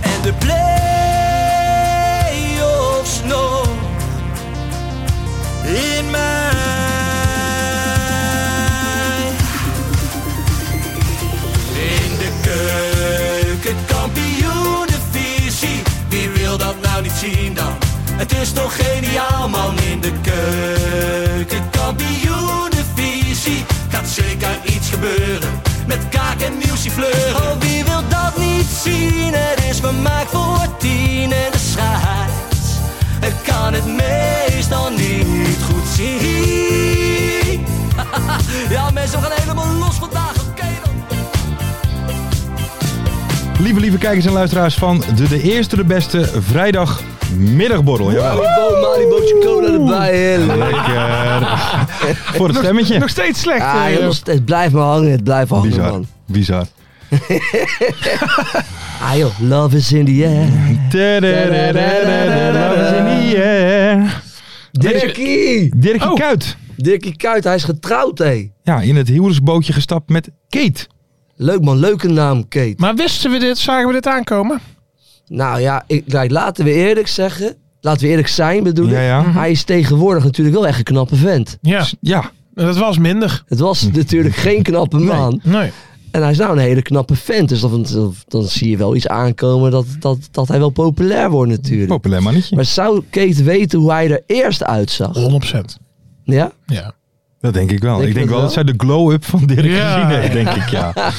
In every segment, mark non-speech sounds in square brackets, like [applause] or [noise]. En de play-offs nog in mij. In de keuken, kampioen de visie. Wie wil dat nou niet zien dan? Het is toch geniaal man in de keuken, kampioen de visie. Gaat zeker iets gebeuren met kaak en nieuwsje fleuren. Oh, wie wil dat niet zien? Het is vermaakt voor tien en de scheids. Ik kan het meestal niet goed zien. [laughs] Ja, mensen, we gaan helemaal los vandaag. Oké dan. Lieve, lieve kijkers en luisteraars van de, de Eerste, de Beste Vrijdagmiddagborrel. Jawel. Malibu, Malibu, cola erbij. Heerlijk. Lekker. eh, Voor het stemmetje. Nog steeds slecht. Ah, eh, joh, nog joh. steeds- het blijft maar hangen, het blijft hangen, Bizar. man. Bizar. Ah joh, love is in the air. Tadadadadada, love is in the air. Dirkie! Dirkie Oh. Kuyt. Dirkie Kuyt, hij is getrouwd, hé. Ja, in het huwelijksbootje gestapt met Kate. Leuk man, leuke naam, Kate. Maar wisten we dit? Zagen we dit aankomen? Nou ja, ik, kijk, laten we eerlijk zeggen. Laten we eerlijk zijn, bedoel ik. Ja, ja. Mhm. Hij is tegenwoordig natuurlijk wel echt een knappe vent. Ja, Ja, dat was minder. Het was natuurlijk geen knappe man. Nee. En hij is nou een hele knappe vent. Dus dan, dan zie je wel iets aankomen dat, dat, dat hij wel populair wordt natuurlijk. Oh, populair Maar mannetje. zou Kate weten hoe hij er eerst uitzag? 100%. Ja? Ja. Dat denk ik wel. ik Denk je denk dat wel dat zij wel? de glow-up van Dirk Ja. gezien heeft, denk ik. Ja. Ja.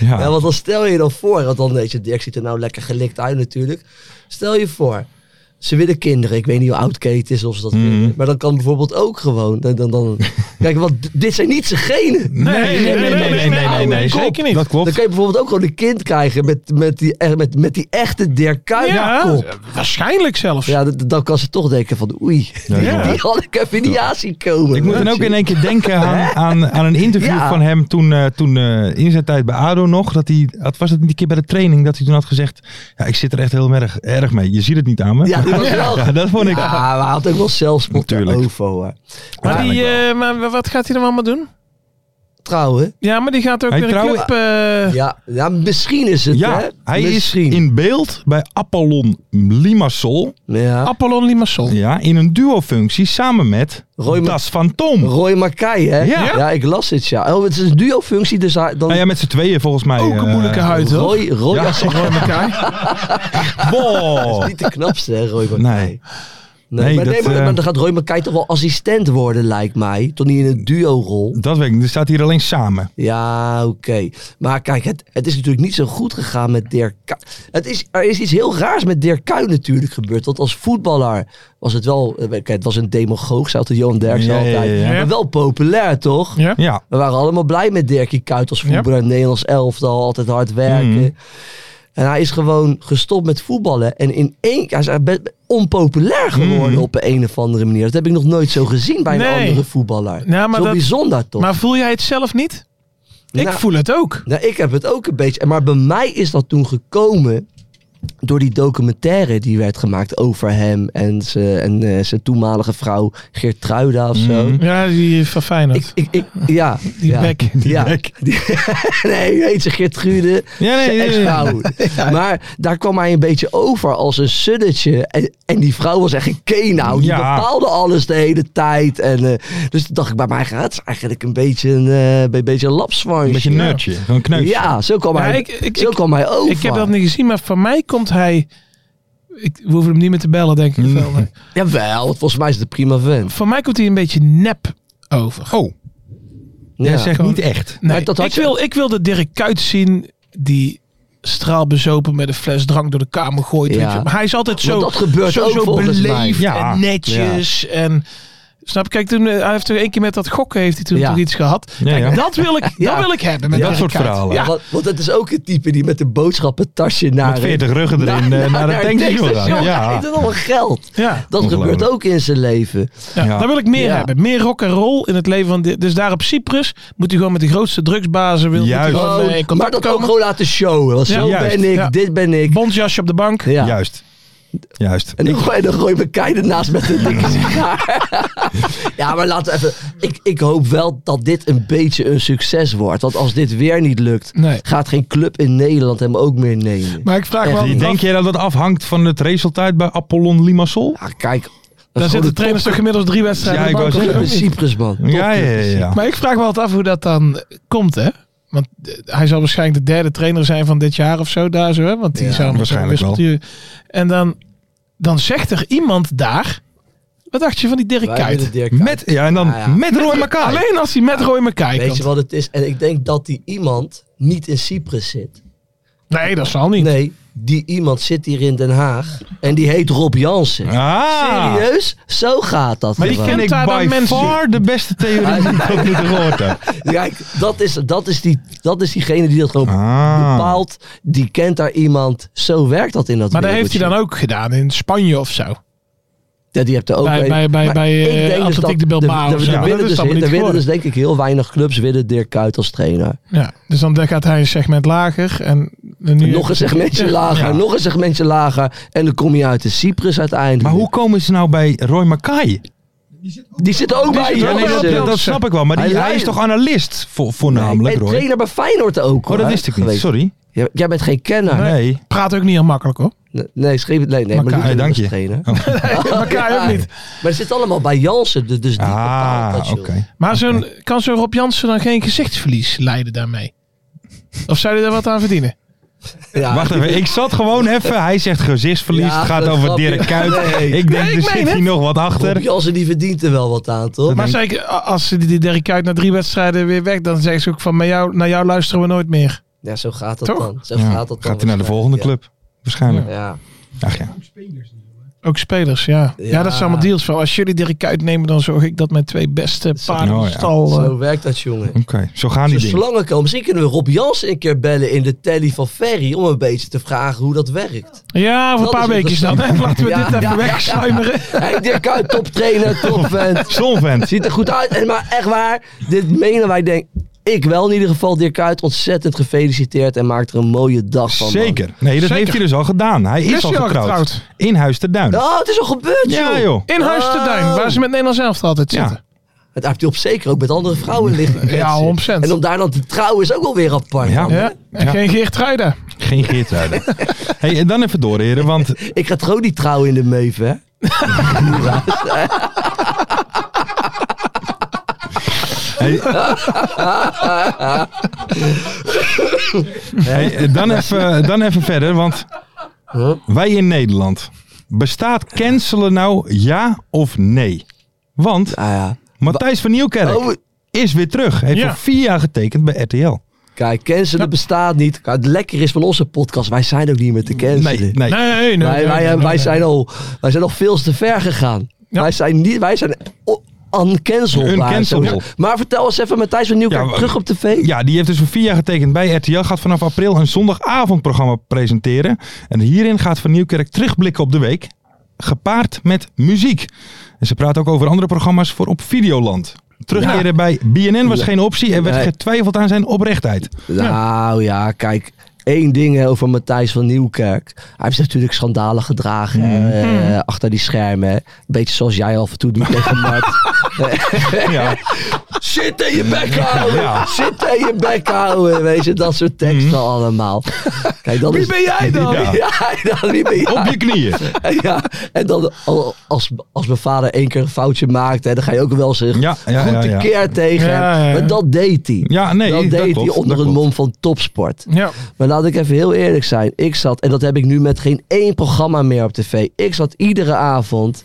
Ja. Ja, want dan stel je dan voor, want dan weet je, Dirk ziet er nou lekker gelikt uit natuurlijk. Stel je voor, ze willen kinderen. Ik weet niet hoe oud Kate is of ze dat Mhm. willen. Maar dan kan bijvoorbeeld ook gewoon. Dan, [laughs] dan, dan, kijk, want d- dit zijn niet zijn genen. Nee, nee, nee, nee, nee, nee, nee, nee. Zeker niet. Dat Dan klopt. kan je bijvoorbeeld ook gewoon een kind krijgen met, met, die, echt- met, met die echte Dirk Kuyt ja, kop. waarschijnlijk zelfs. Ja, d- d- dan kan ze toch denken van oei, [laughs] die, ja. die had ik even niet aan zien komen. Ik moet dan ook in één keer denken aan, aan, aan een interview Ja. van hem toen, eh, toen eh, in zijn tijd bij ADO nog. Dat hij, dat was het een keer bij de training dat hij toen had gezegd, ja, ik zit er echt heel erg, erg mee. Je ziet het niet aan me. Ja, die was wel. Ja, dat vond ik. Ja, maar hij had ook wel zelfspot over Natuurlijk. hoor. maar, die, Waarschijnlijk eh, maar wat gaat hij dan allemaal doen? Trouwen. Ja, maar die gaat ook Hij weer een trouwen- club... eh, Ja, ja, misschien is het, Ja, hè? hij misschien. is in beeld bij Apollon Limassol. Ja. Apollon Limassol. Ja, in een duo-functie samen met Roy Ma- Das Fantoom. Roy Mackay, hè? Ja. ik las dit, ja. Oh, het is een duo-functie, dus hij- dan... Nou ja, met z'n tweeën volgens mij. Ook een eh, moeilijke huid, hoor. Roy, Roy Ja. als- Roy Mackay. [laughs] Wow. niet de knapste, hè, Roy Mackay. Nee. Nee, Nee, maar, nee, dat, maar, eh, maar dan gaat Roy Mackay toch wel assistent worden, lijkt mij. Toch niet in een duo-rol. Dat weet ik niet. Er staat hier alleen samen. Ja, oké. Maar kijk, het, het is natuurlijk niet zo goed gegaan met Dirk Kuyt. Het is, er is iets heel raars met Dirk Kuyt natuurlijk gebeurd. Want als voetballer was het wel... eh, Kijk, het was een demagoog, zou het Johan Derksen Ja, ja, altijd. ja, ja. Maar wel populair, toch? Ja. Ja. We waren allemaal blij met Dirkie Kuyt als voetballer. Nederlands elftal, altijd hard werken. Mhm. En hij is gewoon gestopt met voetballen. En in één hij is eigenlijk best onpopulair geworden op een, een of andere manier. Dat heb ik nog nooit zo gezien bij een Mhm. Nee. andere voetballer. Nou, maar zo dat- bijzonder toch? Maar voel jij het zelf niet? Ik Nou, voel het ook. nou, ik heb het ook een beetje. Maar bij mij is dat toen gekomen door die documentaire die werd gemaakt over hem en zijn en, eh, zijn toenmalige vrouw Geertruida of zo. Ja, die van Feyenoord. Ik, ik, ik, ja, die ja. bek. ja. [laughs] Die- nee, heet ze Gertrude. Ja, nee, nee, zijn nee. ex-vrouw. Maar daar kwam hij een beetje over als een suddetje. En, en die vrouw was echt een kenau. Die Ja. bepaalde alles de hele tijd. En, eh, dus toen dacht ik bij mij, ja, het is eigenlijk een beetje een, eh, een beetje een lapswantje. Een beetje een nerdje. Gewoon kneusje. Ja, zo kwam Ja, hij, ik- ik- zo ik- kwam hij over. Ik heb dat niet gezien, maar voor mij komt hij... Ik, we hoeven hem niet meer te bellen, denk ik. Mm. Velder. Jawel, want volgens mij is het een prima vent. Voor mij komt hij een beetje nep over. Oh, Ja. jij zegt niet echt. Nee, Maar dat had ik, je- wil, ik wil de Dirk Kuyt zien die straalbezopen met een fles drank door de kamer gooit. Ja. weet je. Maar hij is altijd zo, Want dat gebeurt zo, ook zo volgens mij. beleefd Ja. en netjes en Snap je? Kijk, toen, eh, hij heeft toen één keer met dat gokken heeft hij toen Ja. toch iets gehad. Ja, Kijk, ja. Dat, wil ik, Ja. dat wil ik hebben. Met Dat die soort kaart. verhalen. Ja. Want, want het is ook het type die met een boodschappentasje naar... Met 40 ruggen Nou, erin eh, naar, het tankstation. Ja, gaat. ja. Ja. Dat allemaal geld. Ja. Dat Ongelooflijk. gebeurt ook in zijn leven. Ja, Ja. Daar wil ik meer Ja. hebben. Meer rock en roll in het leven van dit. Dus daar op Cyprus moet u gewoon met de grootste drugsbazen wil, moet u Juist. gewoon, eh, Oh, in maar contact dat ook komen. gewoon laten showen. Want Ja, zo juist. ben ik, Ja. dit ben ik. eh, Bondjasje op de bank. Ja. Juist. Juist. En dan, gooi, dan gooi je elkaar ernaast met [laughs] een dikke sigaar. ja, maar laten we even... Ik, ik hoop wel dat dit een beetje een succes wordt. Want als dit weer niet lukt, Nee. gaat geen club in Nederland hem ook meer nemen. Maar ik vraag Echt, me die altijd af, Denk jij dat dat afhangt van het resultaat bij Apollon Limassol? Ja, kijk. dat is daar gewoon zitten een trainers toch gemiddels drie wedstrijden Ja, op de ik bank. wou of topclub zeggen, zo? in Cyprus, man. Ja, ja, dus ja. ja. Maar ik vraag me altijd af hoe dat dan komt, hè? Want eh, hij zal waarschijnlijk de derde trainer zijn van dit jaar of zo, daar zo, hè? Want die Ja, zou waarschijnlijk wel. wisseltuur- En dan, dan zegt er iemand daar... Wat dacht je van die Dirk Wij Kuyt? willen Dirk Kuyt. Met, ja, en dan Ah, ja. met Roy Makai. Alleen als hij met Roy McKay Weet komt. je wat het is? En ik denk dat die iemand niet in Cyprus zit. Nee, dat zal niet. Nee, die iemand zit hier in Den Haag. En die heet Rob Jansen. Ah. Serieus? Zo gaat dat. Maar die gewoon. ken En ik ik daar dan by mensen- far de beste theorie die ik ook niet gehoord heb. [laughs] Kijk, dat is, dat, is die, dat is diegene die dat gewoon Ah. bepaalt. Die kent daar iemand. Zo werkt dat in dat Maar dat heeft hij dan ook gedaan in Spanje of zo. Ja, die hebt er ook Bij- een. bij- bij- Maar bij, ik eh, denk dus Atletiek dat de Bilbao de- of de- zo. de Dat is winnen dus- dan maar niet de winnen dus geworden. denk ik heel weinig clubs willen Dirk Kuyt als trainer. Ja, dus dan gaat hij een segment lager. En, en nu Nog een segmentje lager, Ja. nog een segmentje lager. En dan kom je uit de Cyprus uiteindelijk. Maar hoe komen ze nou bij Roy Makai? Die zit er ook bij. zit er Ja, ook nee, jongens. dat, bij, Jansen. dat snap ik wel. Maar die, Hij hij is leidt. toch analist vo- voornamelijk, en Roy? trainer bij Feyenoord ook. Oh, dat hoor, wist ik niet. geweest. Sorry. Jij, jij bent geen kenner. Nee, Nee. Praat ook niet heel makkelijk [laughs] hoor. nee, schreef het. Nee, nee, maar Makai, Luc dank is je. trainer. Makai ook niet. Maar het zit allemaal bij Jansen. Dus die bepaalt dat, Ah, joh. oké. Maar zo'n, kan zo'n Rob Jansen dan geen gezichtsverlies leiden daarmee? Of zou hij daar wat aan verdienen? Ja. Wacht even, ik zat gewoon even. Hij zegt gezichtsverlies. Ja, het gaat dat over grapje. Dirk Kuyt. Nee. Ik denk, Nee, ik er meen zit hier het. nog wat Rob achter. Jansen die verdient er wel wat aan, toch? Maar zeker a- als ze die Dirk Kuyt na drie wedstrijden weer weg, dan zeggen ze ook van, met jou, naar jou luisteren we nooit meer. Ja, zo gaat dat Toch? dan. Zo Ja, gaat dat dan Gaat hij naar de volgende waarschijnlijk, club? Waarschijnlijk. Ja. Ja. Ach ja. Ook spelers, ja. Ja, Ja. dat zijn allemaal deals van, als jullie Dirk Kuyt nemen, dan zorg ik dat mijn twee beste paarden Oh, ja. stal... eh, Zo werkt dat, jongen. Oké, zo gaan die Als er dingen. slangen komen, misschien kunnen we Rob Jansen een keer bellen in de telly van Ferry om een beetje te vragen hoe dat [laughs] werkt. Ja, voor Dat een paar is weekjes dan. hè. Laten we Ja, dit even ja, ja. wegsluimeren. Hey, Dirk Kuyt, toptrainer, topvent. Zo'n vent. Ziet er goed uit. En maar echt waar, dit menen wij denk ik wel in ieder geval. Dirk Kuyt, ontzettend gefeliciteerd en maakt er een mooie dag van. man. Zeker. Nee, dat Zeker. heeft hij dus al gedaan. Hij is, Is al hij al getrouwd. getrouwd? In Huis ter Duin. Oh, het is al gebeurd, Ja, joh. In Huis te Duin, waar ze met Nederland zelf altijd Ja. zitten. Het heeft hij op zeker ook met andere vrouwen liggen. Ja, 100%. En om daar dan te trouwen is ook wel weer apart. Ja. man. Ja. En Ja. geen Geert Ruida. Geen Geert [laughs] hey, en dan even door, heren. Want Ik ga trouw niet trouwen in de Meef, hè? Hey. [laughs] Hey, eh, dan, even, dan even verder, want wij in Nederland. Bestaat cancelen nou ja of nee? Want Ah ja. Matthijs van Nieuwkerk Oh, is weer terug. Heeft Ja. voor vier jaar getekend bij RTL. Kijk, cancelen bestaat niet. Kijk, het lekker is van onze podcast. Wij zijn ook niet meer te cancelen. Nee, nee. Nee, nee, nee. wij, nee, wij, nee, wij, nee. zijn al, wij zijn al veel te ver gegaan. Ja. Wij zijn niet, wij zijn o- uncancelbaar. Uncancelable. Maar vertel eens even, Matthijs van Nieuwkerk, Ja, we- terug op tv. Ja, die heeft dus voor vier jaar getekend bij RTL. Gaat vanaf april een zondagavondprogramma presenteren. En hierin gaat Van Nieuwkerk terugblikken op de week. Gepaard met muziek. En ze praat ook over andere programma's voor op Videoland. Terugkeren bij BNN was Ja. geen optie en werd Nee. getwijfeld aan zijn oprechtheid. [laughs] Nou ja, kijk. Eén ding hè, over Matthijs van Nieuwkerk. Hij heeft zich natuurlijk schandalen gedragen Mhm. hè, eh, achter die schermen. hè. Beetje zoals jij af en toe doet [laughs] tegen Mart. Eh, Ja, Zit in je bek houden! Zit in je bek houden! Weet je, dat soort teksten allemaal. Kijk, Mhm. dan Wie is- ben jij dan? Ja. Ja, [laughs] dan, wie ben jij? op je knieën. Ja, en dan al- als, als mijn vader één keer een foutje maakt, hè, dan ga je ook wel eens een Ja, ja, goed ja, ja. tekeer tegen hem. Ja, ja, ja. Maar dat deed hij. Ja, nee, dat dat deed hij klopt, dat onder het klopt. mom van topsport. Ja. Maar laat ik even heel eerlijk zijn. Ik zat, en dat heb ik nu met geen één programma meer op tv. Ik zat iedere avond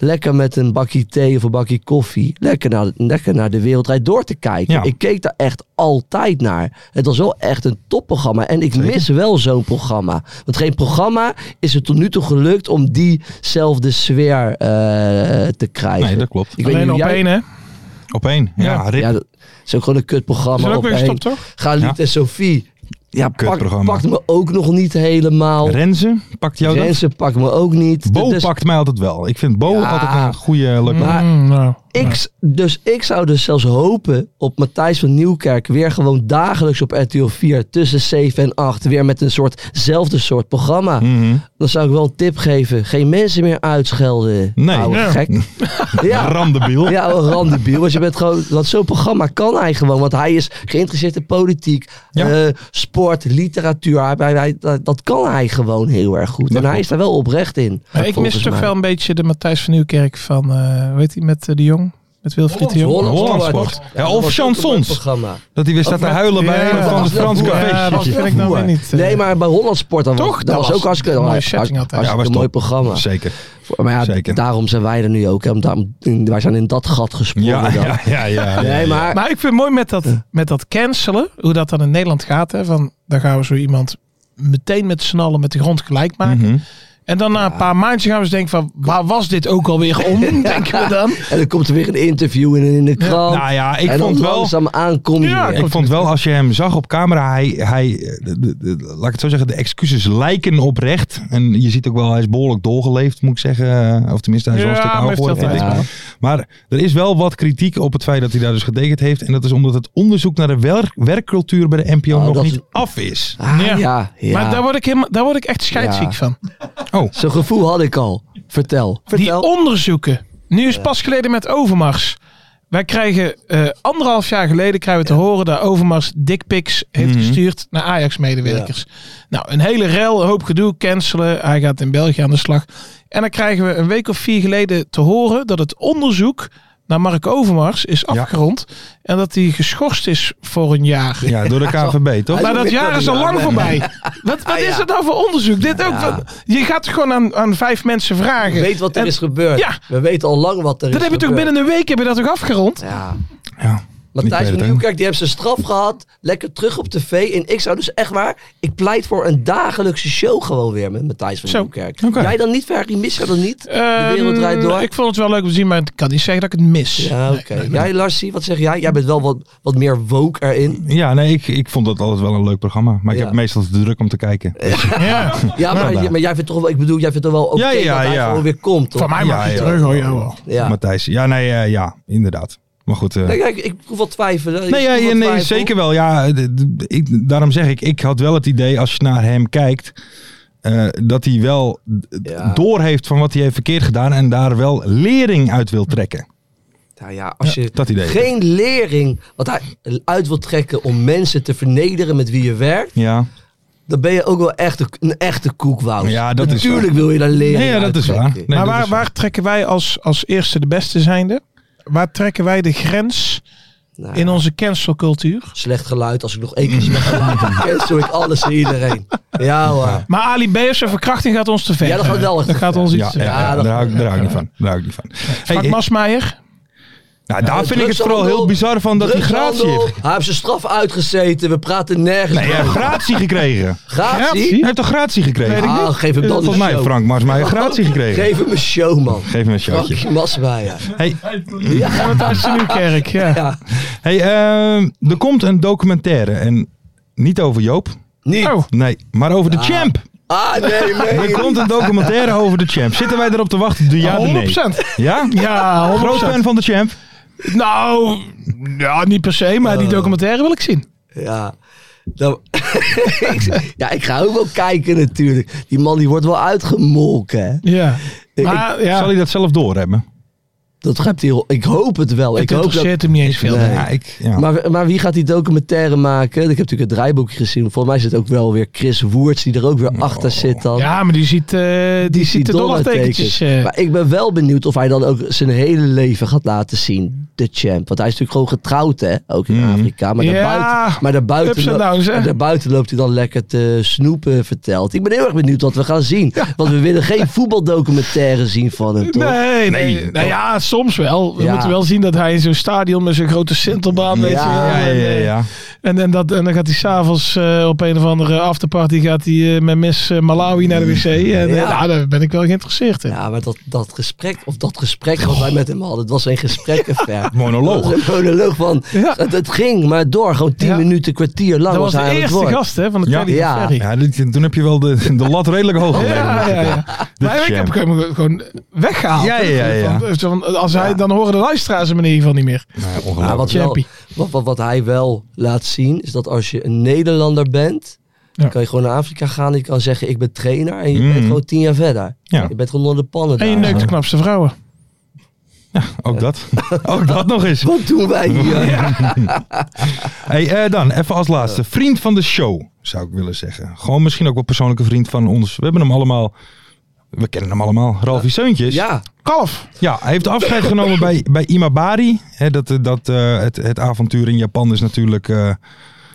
lekker met een bakje thee of een bakje koffie, lekker naar, lekker naar de wereldrijd door te kijken. Ja. Ik keek daar echt altijd naar. Het was wel echt een topprogramma. En ik mis wel zo'n programma. Want geen programma is het tot nu toe gelukt om diezelfde sfeer eh, te krijgen. Nee, dat klopt. Ik weet Alleen niet op hoe jij- één, hè? Op één. Ja, Ja. Rip. Ja, dat is ook gewoon een Ze kutprogramma. zijn ook op weer één. gestopt, toch? Galit Ja. en Sophie. Ja, pak, Kutprogramma. pakt me ook nog niet helemaal. Renze pakt jou dat? Rensen pakt me ook niet. Bo dus, pakt mij altijd wel. Ik vind Bo Ja. altijd een goede leuke. Maar- Mm, nou. ik, dus ik zou dus zelfs hopen op Matthijs van Nieuwkerk weer gewoon dagelijks op RTL 4 tussen 7 en 8 weer met een soortzelfde soort programma. Mhm. Dan zou ik wel een tip geven. Geen mensen meer uitschelden. Nee. ouwe Ja. gek. [laughs] ja. Randebiel. [laughs] Ja, een randebiel. Want, je bent gewoon, want zo'n programma kan hij gewoon. Want hij is geïnteresseerd in politiek, Ja. eh, sport, literatuur. Hij- hij- hij- dat, dat kan hij gewoon heel erg goed. Dat en hij klopt. is daar wel oprecht in. Maar ik mis volgens toch mij. wel een beetje de Matthijs van Nieuwkerk van, eh weet hij, met eh, de Jong? Met Wilfried de Jong? Holland- Holland Sport. Sport. Ja, Ja, dat of was ook een mooi chansons. programma. Dat hij weer staat te Of met- huilen bij Ja, een van dat het was Frans wel café. vroeger. Ja, dat vind ik dan weer niet. eh, Nee, maar bij Holland Sport, dat, Toch? was, dat Dat was was ook hartstikke, een mooie hartstikke, setting altijd. hartstikke Ja, was mooi top. programma. Zeker. Maar ja, Zeker. daarom zijn wij er nu ook. Hè, want daarom, wij zijn in dat gat gesprongen. Ja, dan. ja, ja, ja. Nee, maar Maar ik vind het mooi met dat, met dat cancelen, hoe dat dan in Nederland gaat. Hè, van, dan gaan we zo iemand meteen met snallen met de grond gelijk maken. Mhm. En dan na een paar maandjes gaan we eens denken van, waar was dit ook alweer [laughs] om, denken we dan. En dan komt er weer een interview in, in de krant. Nou ja, ik en dan vond wel... langzaam aankom je Ja, weer. ik Ik vond wel, als je hem zag op camera, hij, hij eh, de- de- de- laat ik het zo zeggen, de excuses lijken oprecht. En je ziet ook wel, hij is behoorlijk dolgeleefd, moet ik zeggen. Eh, Of tenminste, hij is wel een Ja, stuk maar ouder heeft geworden, dat vind ik. wel. Maar er is wel wat kritiek op het feit dat hij daar dus getekend heeft. En dat is omdat het onderzoek naar de wer- werkcultuur bij de NPO Oh, nog dat niet is- af is. Ah, Ja. ja. ja, Maar daar word, ik helemaal, daar word ik echt scheidsziek Ja. van. Zo'n gevoel had ik al. Vertel. Vertel. Die onderzoeken. Nu is pas geleden met Overmars. Wij krijgen eh, anderhalf jaar geleden krijgen we te horen dat Overmars dickpics heeft Mhm. gestuurd naar Ajax-medewerkers. Nou, een hele rel, een hoop gedoe, cancelen. Hij gaat in België aan de slag. En dan krijgen we een week of vier geleden te horen dat het onderzoek naar Mark Overmars is afgerond. En dat hij geschorst is voor een jaar. Ja, door de KVB, toch? Maar dat jaar is al lang voorbij. Wat, wat is het nou voor onderzoek? Dit ook, Ah, Ja. wat- je gaat toch gewoon aan, aan vijf mensen vragen. We weten wat er En is gebeurd. Ja. We weten al lang wat er Dat is heb je toch gebeurd. binnen een week heb je dat toch afgerond? Ja. Ja. Ik Matthijs weet van het, hè. Nieuwkerk, die heeft zijn straf gehad. Lekker terug op tv. En ik zou dus echt waar... Ik pleit voor een dagelijkse show gewoon weer met Matthijs van Zo. Nieuwkerk. Oké. Jij dan niet, Ferry? Mis jij dan niet? Ehm, de wereld draait door. Ik vond het wel leuk om te zien, maar ik kan niet zeggen dat ik het mis. Ja, oké. Jij, Larsie, wat zeg jij? Jij bent wel wat, wat meer woke erin. Ja, nee, ik, ik vond dat altijd wel een leuk programma. Maar ik Ja. heb meestal te druk om te kijken. [laughs] Ja. Ja, maar, nou. maar jij vindt toch wel... Ik bedoel, jij vindt toch wel oké Ja, ja, dat hij ja. gewoon weer komt, toch? Van mij mag Oh, Ja, je ja. terug hoor, ja wel. Ja. Matthijs. Ja, nee, eh, ja, inderdaad. Maar goed. eh, Nee, kijk, ik proef wel twijfelen. Ik Nee, ja, proef ja, wel nee twijfel. zeker wel. Ja, d- d- ik, daarom zeg ik, ik had wel het idee als je naar hem kijkt. eh, dat hij wel Ja. door heeft van wat hij heeft verkeerd gedaan. en daar wel lering uit wil trekken. Nou ja, als je dat idee. geen lering wat hij uit wil trekken om mensen te vernederen met wie je werkt, Ja, dan ben je ook wel echt een, een echte koekwoud. Ja, dat is Natuurlijk wil je daar leren. nee, ja dat is waar. Nee, maar dat waar, is waar. waar trekken wij als, als eerste de beste zijnde? Waar trekken wij de grens Nou in onze cancelcultuur? Slecht geluid, als ik nog één keer [laughs] slecht geluid heb, cancel ik alles en iedereen. Ja hoor. Ja, Maar Ali B of zijn verkrachting gaat ons te ver. Ja, dat gaat wel echt Dat te gaat ver. ons iets Ja, te ja, ver. ja, Ja, dat- daar hou ik- daar hou ik niet van. Daar hou ik niet van. Hey, Frank ik- Masmeijer? nou, daar vind ik het vooral heel bizar van dat hij gratie heeft. Hij heeft zijn straf uitgezeten, we praten nergens Nee, hij heeft over. gratie gekregen. Gratie? Hij heeft toch gratie gekregen? Eh, Ah, geef hem dan Volgens een mij, show. Frank Mars, maar hij heeft [laughs] gratie gekregen. Geef hem een show, man. Geef hem een shotje. Frankie Masmeijer. Hey, Ja. Matthijs van Nieuwkerk, ja. ja. hey, ehm, er komt een documentaire. En niet over Joop. Niet. Oh, Nee, maar over de champ. Ah, [laughs] nee, nee. Er komt een documentaire over de champ. Zitten wij erop te wachten? De ja, de nee. 100%. Ja? Ja, 100%. Groot fan van de champ. Nou, ja, niet per se, maar Eh. die documentaire wil ik zien. Ja. Dan- [laughs] Ik- ja, ik ga ook wel kijken natuurlijk. Die man die wordt wel uitgemolken. hè. Ja. Ik- Maar, Ah, ja. Zal hij dat zelf doorhebben? Dat gaat heel, ik hoop het wel. Het ik hoop dat, interesseert hem niet eens veel. Nee. Ja, ik, ja. Maar, maar wie gaat die documentaire maken? Ik heb natuurlijk het draaiboekje gezien. Volgens mij zit ook wel weer Chris Woerts, die er ook weer achter zit dan. Ja, maar die ziet, eh, die ziet de dollartekentjes. eh. Maar ik ben wel benieuwd of hij dan ook zijn hele leven gaat laten zien. De champ. Want hij is natuurlijk gewoon getrouwd, hè? Ook in Afrika. Maar, Mhm. Ja, daarbuiten, maar daarbuiten, ups en lo- downs, hè? maar daarbuiten loopt hij dan lekker te snoepen, vertelt. Ik ben heel erg benieuwd wat we gaan zien. Want we willen geen voetbaldocumentaire zien van hem, toch? Nee, nee. Nou ja, soms wel. We Ja. moeten wel zien dat hij in zo'n stadion met zo'n grote centerbaan, weet je wel. Ja, Ja, En, ja, eh, ja. En, en, dat, en dan gaat hij s'avonds eh op een of andere afterparty gaat hij, eh, met Miss eh, Malawi naar de wc. En, eh, Ja. nou, daar ben ik wel geïnteresseerd in. Ja, maar dat, dat gesprek, of dat gesprek wat wij met hem hadden, het was geen gesprek ver. Monoloog. Het was Een monoloog van, Ja. het, het ging maar door, gewoon tien Ja. minuten, kwartier lang dat was was hij de aan het eerste woord. gast hè, van de Ja. Teddy Ja. Ferry. Ja, dit- toen heb je wel de, de lat redelijk hoog gelegd. Ja, ja, ja. Maar ik heb champ. hem gewoon weggehaald. Ja, ja, ja. Van- van- als hij, dan horen de luisteraars hem in ieder geval niet meer. Ja, Maar ongelooflijk. wat, wel- Champie. wat, wat, wat hij wel laat zien, is dat als je een Nederlander bent, Ja. Mm. dan kan je gewoon naar Afrika gaan en je kan zeggen ik ben trainer en je Mhm. bent gewoon tien jaar verder. Ja. Je bent gewoon onder de pannen En je daar. neukt de knapste vrouwen. Ook [laughs] dat. Ook dat nog eens. Wat doen wij hier? Hey, eh, dan, even als laatste. Vriend van de show, zou ik willen zeggen. Gewoon misschien ook wel persoonlijke vriend van ons. We hebben hem allemaal... We kennen hem allemaal. Ralfie Seuntjes. Ja, Kalf. Ja, hij heeft afscheid genomen bij, bij Imabari. Hè, dat, eh, dat, eh, het, het avontuur in Japan is natuurlijk... eh,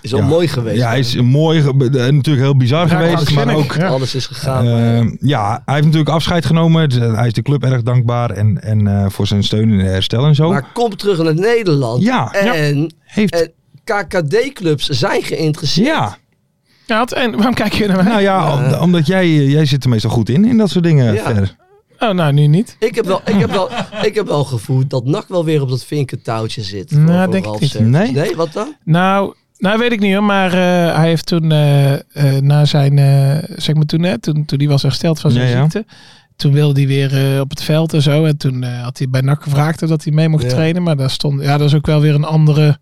is wel Ja. mooi geweest. ja, hij is mooi. ge- eh, Natuurlijk heel bizar geweest. Maar krankzinnig. ook... Ja. Alles is gegaan. maar- Eh, ja, hij heeft natuurlijk afscheid genomen. Dus, eh, Hij is de club erg dankbaar en, en eh, voor zijn steun in herstel en zo. maar kom terug naar Nederland. Ja. En, heeft, en KKD-clubs zijn geïnteresseerd. ja, Ja, het- en waarom kijk je naar mij? nou ja, om- omdat jij, eh, jij zit er meestal goed in, in dat soort dingen. Ja. Fer. Oh, nou, nu niet. Ik heb, wel, ik, heb wel, ik heb wel gevoeld dat NAC wel weer op dat vinkentouwtje zit. Nou, Voor- voor denk ik Ralf niet. Serkens. Nee? Nee, wat dan? Nou, nou weet ik niet hoor, maar eh, hij heeft toen eh, eh, na zijn, eh, zeg maar toen, hè, toen, toen hij was hersteld van zijn Ja, ja. ziekte, toen wilde hij weer eh, op het veld en zo. En toen eh, had hij bij NAC gevraagd of dat hij mee mocht Ja. trainen, maar daar stond, ja, dat is ook wel weer een andere Andere-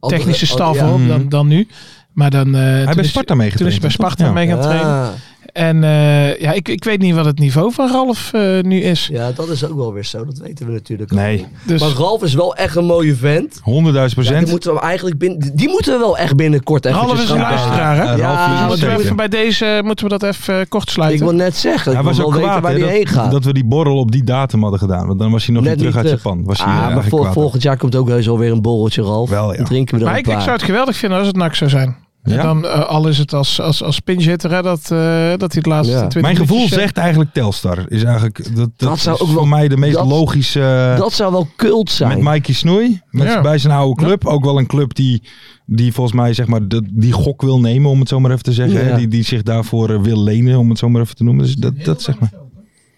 oh, technische staf ja. hoor, dan, Mhm. dan nu. Maar dan, eh, toen Hij is- bij Sparta Toen is hij meegetraind. bij Sparta Ja. mee gaan Ah, trainen. En eh, ja, ik, ik weet niet wat het niveau van Ralf eh, nu is. Ja, dat is ook wel weer zo. Dat weten we natuurlijk ook Nee, niet. Dus Maar Ralf is wel echt een mooie vent. 100.000 Ja, die, procent. moeten we hem eigenlijk binnen, die moeten we wel echt binnenkort even Ralf is een luisteraar hè? Eh, Ralfie Ja, is maar een Moeten we zeven. even bij deze moeten we dat even eh, kort Ik sluiten. wil net zeggen, ik Hij wil was wel ook weten kwaad waar hè, hij heen dat, gaat. dat we die borrel op die datum hadden gedaan. Want dan was hij nog Net niet terug niet uit terug. Japan. Was hij eh, ah, maar eigenlijk voor- kwaad. volgend jaar komt ook heus alweer een borreltje, Ralf. Wel, ja. Dan drinken we er Maar een ik, ik paar. zou het geweldig vinden als het NAC zou zijn. En Ja? dan, eh, al is het als, als, als pinch hitter, hè, dat, eh, dat hij het laatste Ja. 20 Mijn gevoel minuutjes, eh, zegt eigenlijk Telstar. Is eigenlijk, dat, dat, Dat zou is ook wel- voor mij de meest dat- logische... eh, dat zou wel kult zijn. Met Mikey Snoei. Met, Ja. Bij zijn oude club. Ook wel een club die, die volgens mij zeg maar, de- die gok wil nemen, om het zo maar even te zeggen. hè. Ja. Die, die zich daarvoor eh, wil lenen, om het zo maar even te noemen. Dus dat, dat zeg maar.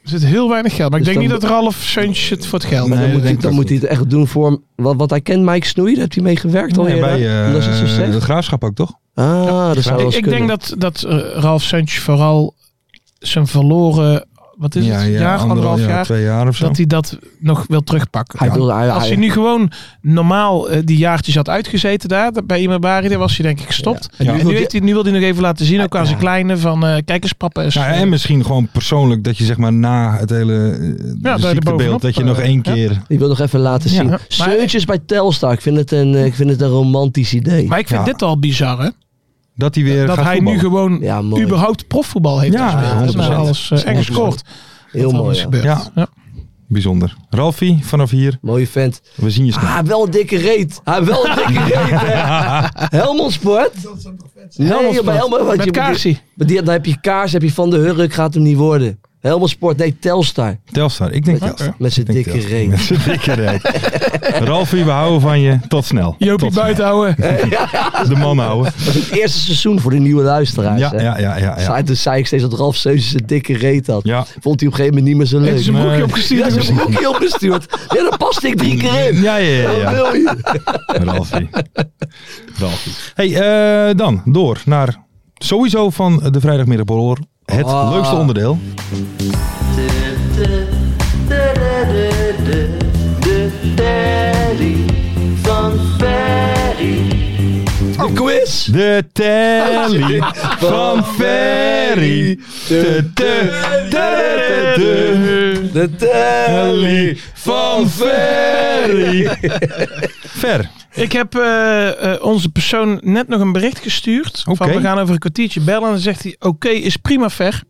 Er zit heel weinig geld. Maar ik Dus denk dan- niet dat Ralf Seuntjes het voor het geld Maar Nee, dan dat moet, hij, denk ik dan ook moet hij het echt doen voor hem. Want, want hij kent Mike Snoei, daar heeft hij mee gewerkt al Nee, eerder. bij eh, Omdat ze het zo zegt. het graafschap ook, toch? Ah, dat zou Ik, wel eens ik denk kunnen. dat, dat eh, Ralf Seuntjes vooral zijn verloren, wat is het, jaar, anderhal- anderhalf ja, jaar, Twee jaar of zo. dat hij dat nog wil terugpakken. Hij wil hij, Als hij nu gewoon normaal eh, die jaartjes had uitgezeten daar, dat- bij Imabari, daar was hij denk ik gestopt. Ja. En Ja. nu, heeft hij, nu wil hij nog even laten zien, ook aan zijn kleine, van eh, kijk eens papa. Is, Nou, en misschien gewoon persoonlijk dat je zeg maar na het hele eh, daar bovenop, ziektebeeld, dat je nog eh, één ja. keer... Ik wil nog even laten Ja. zien. Maar- Seuntjes bij Telstar. Ik vind het een, eh, ik vind het een romantisch idee. Maar ik vind Ja. dit al bizar hè. Dat hij weer dat gaat hij voetballen. nu gewoon Ja, mooi. überhaupt profvoetbal heeft Ja, gespeeld. 100%. Ja, alles eh, en 100%. gescoord. Heel Dat mooi. is ja. gebeurd. Ja. Ja. Bijzonder. Ralfie, vanaf hier, Mooie vent. we zien je snel. Ah, wel een dikke reet. Ah, wel een dikke reet, hè. Helmond Sport. Nee, joh, bij Helmond want Met je- Kaarsie. Maar die, dan heb je kaars, heb je van de hurk, gaat hem niet worden. Helmond Sport, nee, Telstar. Telstar, ik denk Met- Telstar. met zijn Ik denk dikke Telstar. reet. Met zijn dikke [laughs] reet. Ralfie, we houden van je. Tot snel. Jopie Tot snel. [laughs] Buitenhouden. De man houden. Dat is het eerste seizoen voor de nieuwe luisteraars. Ja, hè. ja, ja, ja. ja. Zei- Toen zei ik steeds dat Ralf Seuntjes een dikke reet had. Ja. Vond hij op een gegeven moment niet meer zo leuk. Heeft zijn Nee. broekje Ja, opgestuurd. ze hebben een boekje opgestuurd. Ja, dan past ik drie keer in. Ja, ja, ja. Wat ja. wil je? [laughs] Ralfie. Ralfie. Hey, eh, dan door naar sowieso van de vrijdagmiddagborrel. Het Ah. leukste onderdeel. De quiz. De telly van Ferry. De, de, de, de, de. De telly van Ferry. Ver. Ik heb eh, eh, onze persoon net nog een bericht gestuurd. Oké. Van we gaan over een kwartiertje bellen. En dan zegt hij: Oké, is prima ver.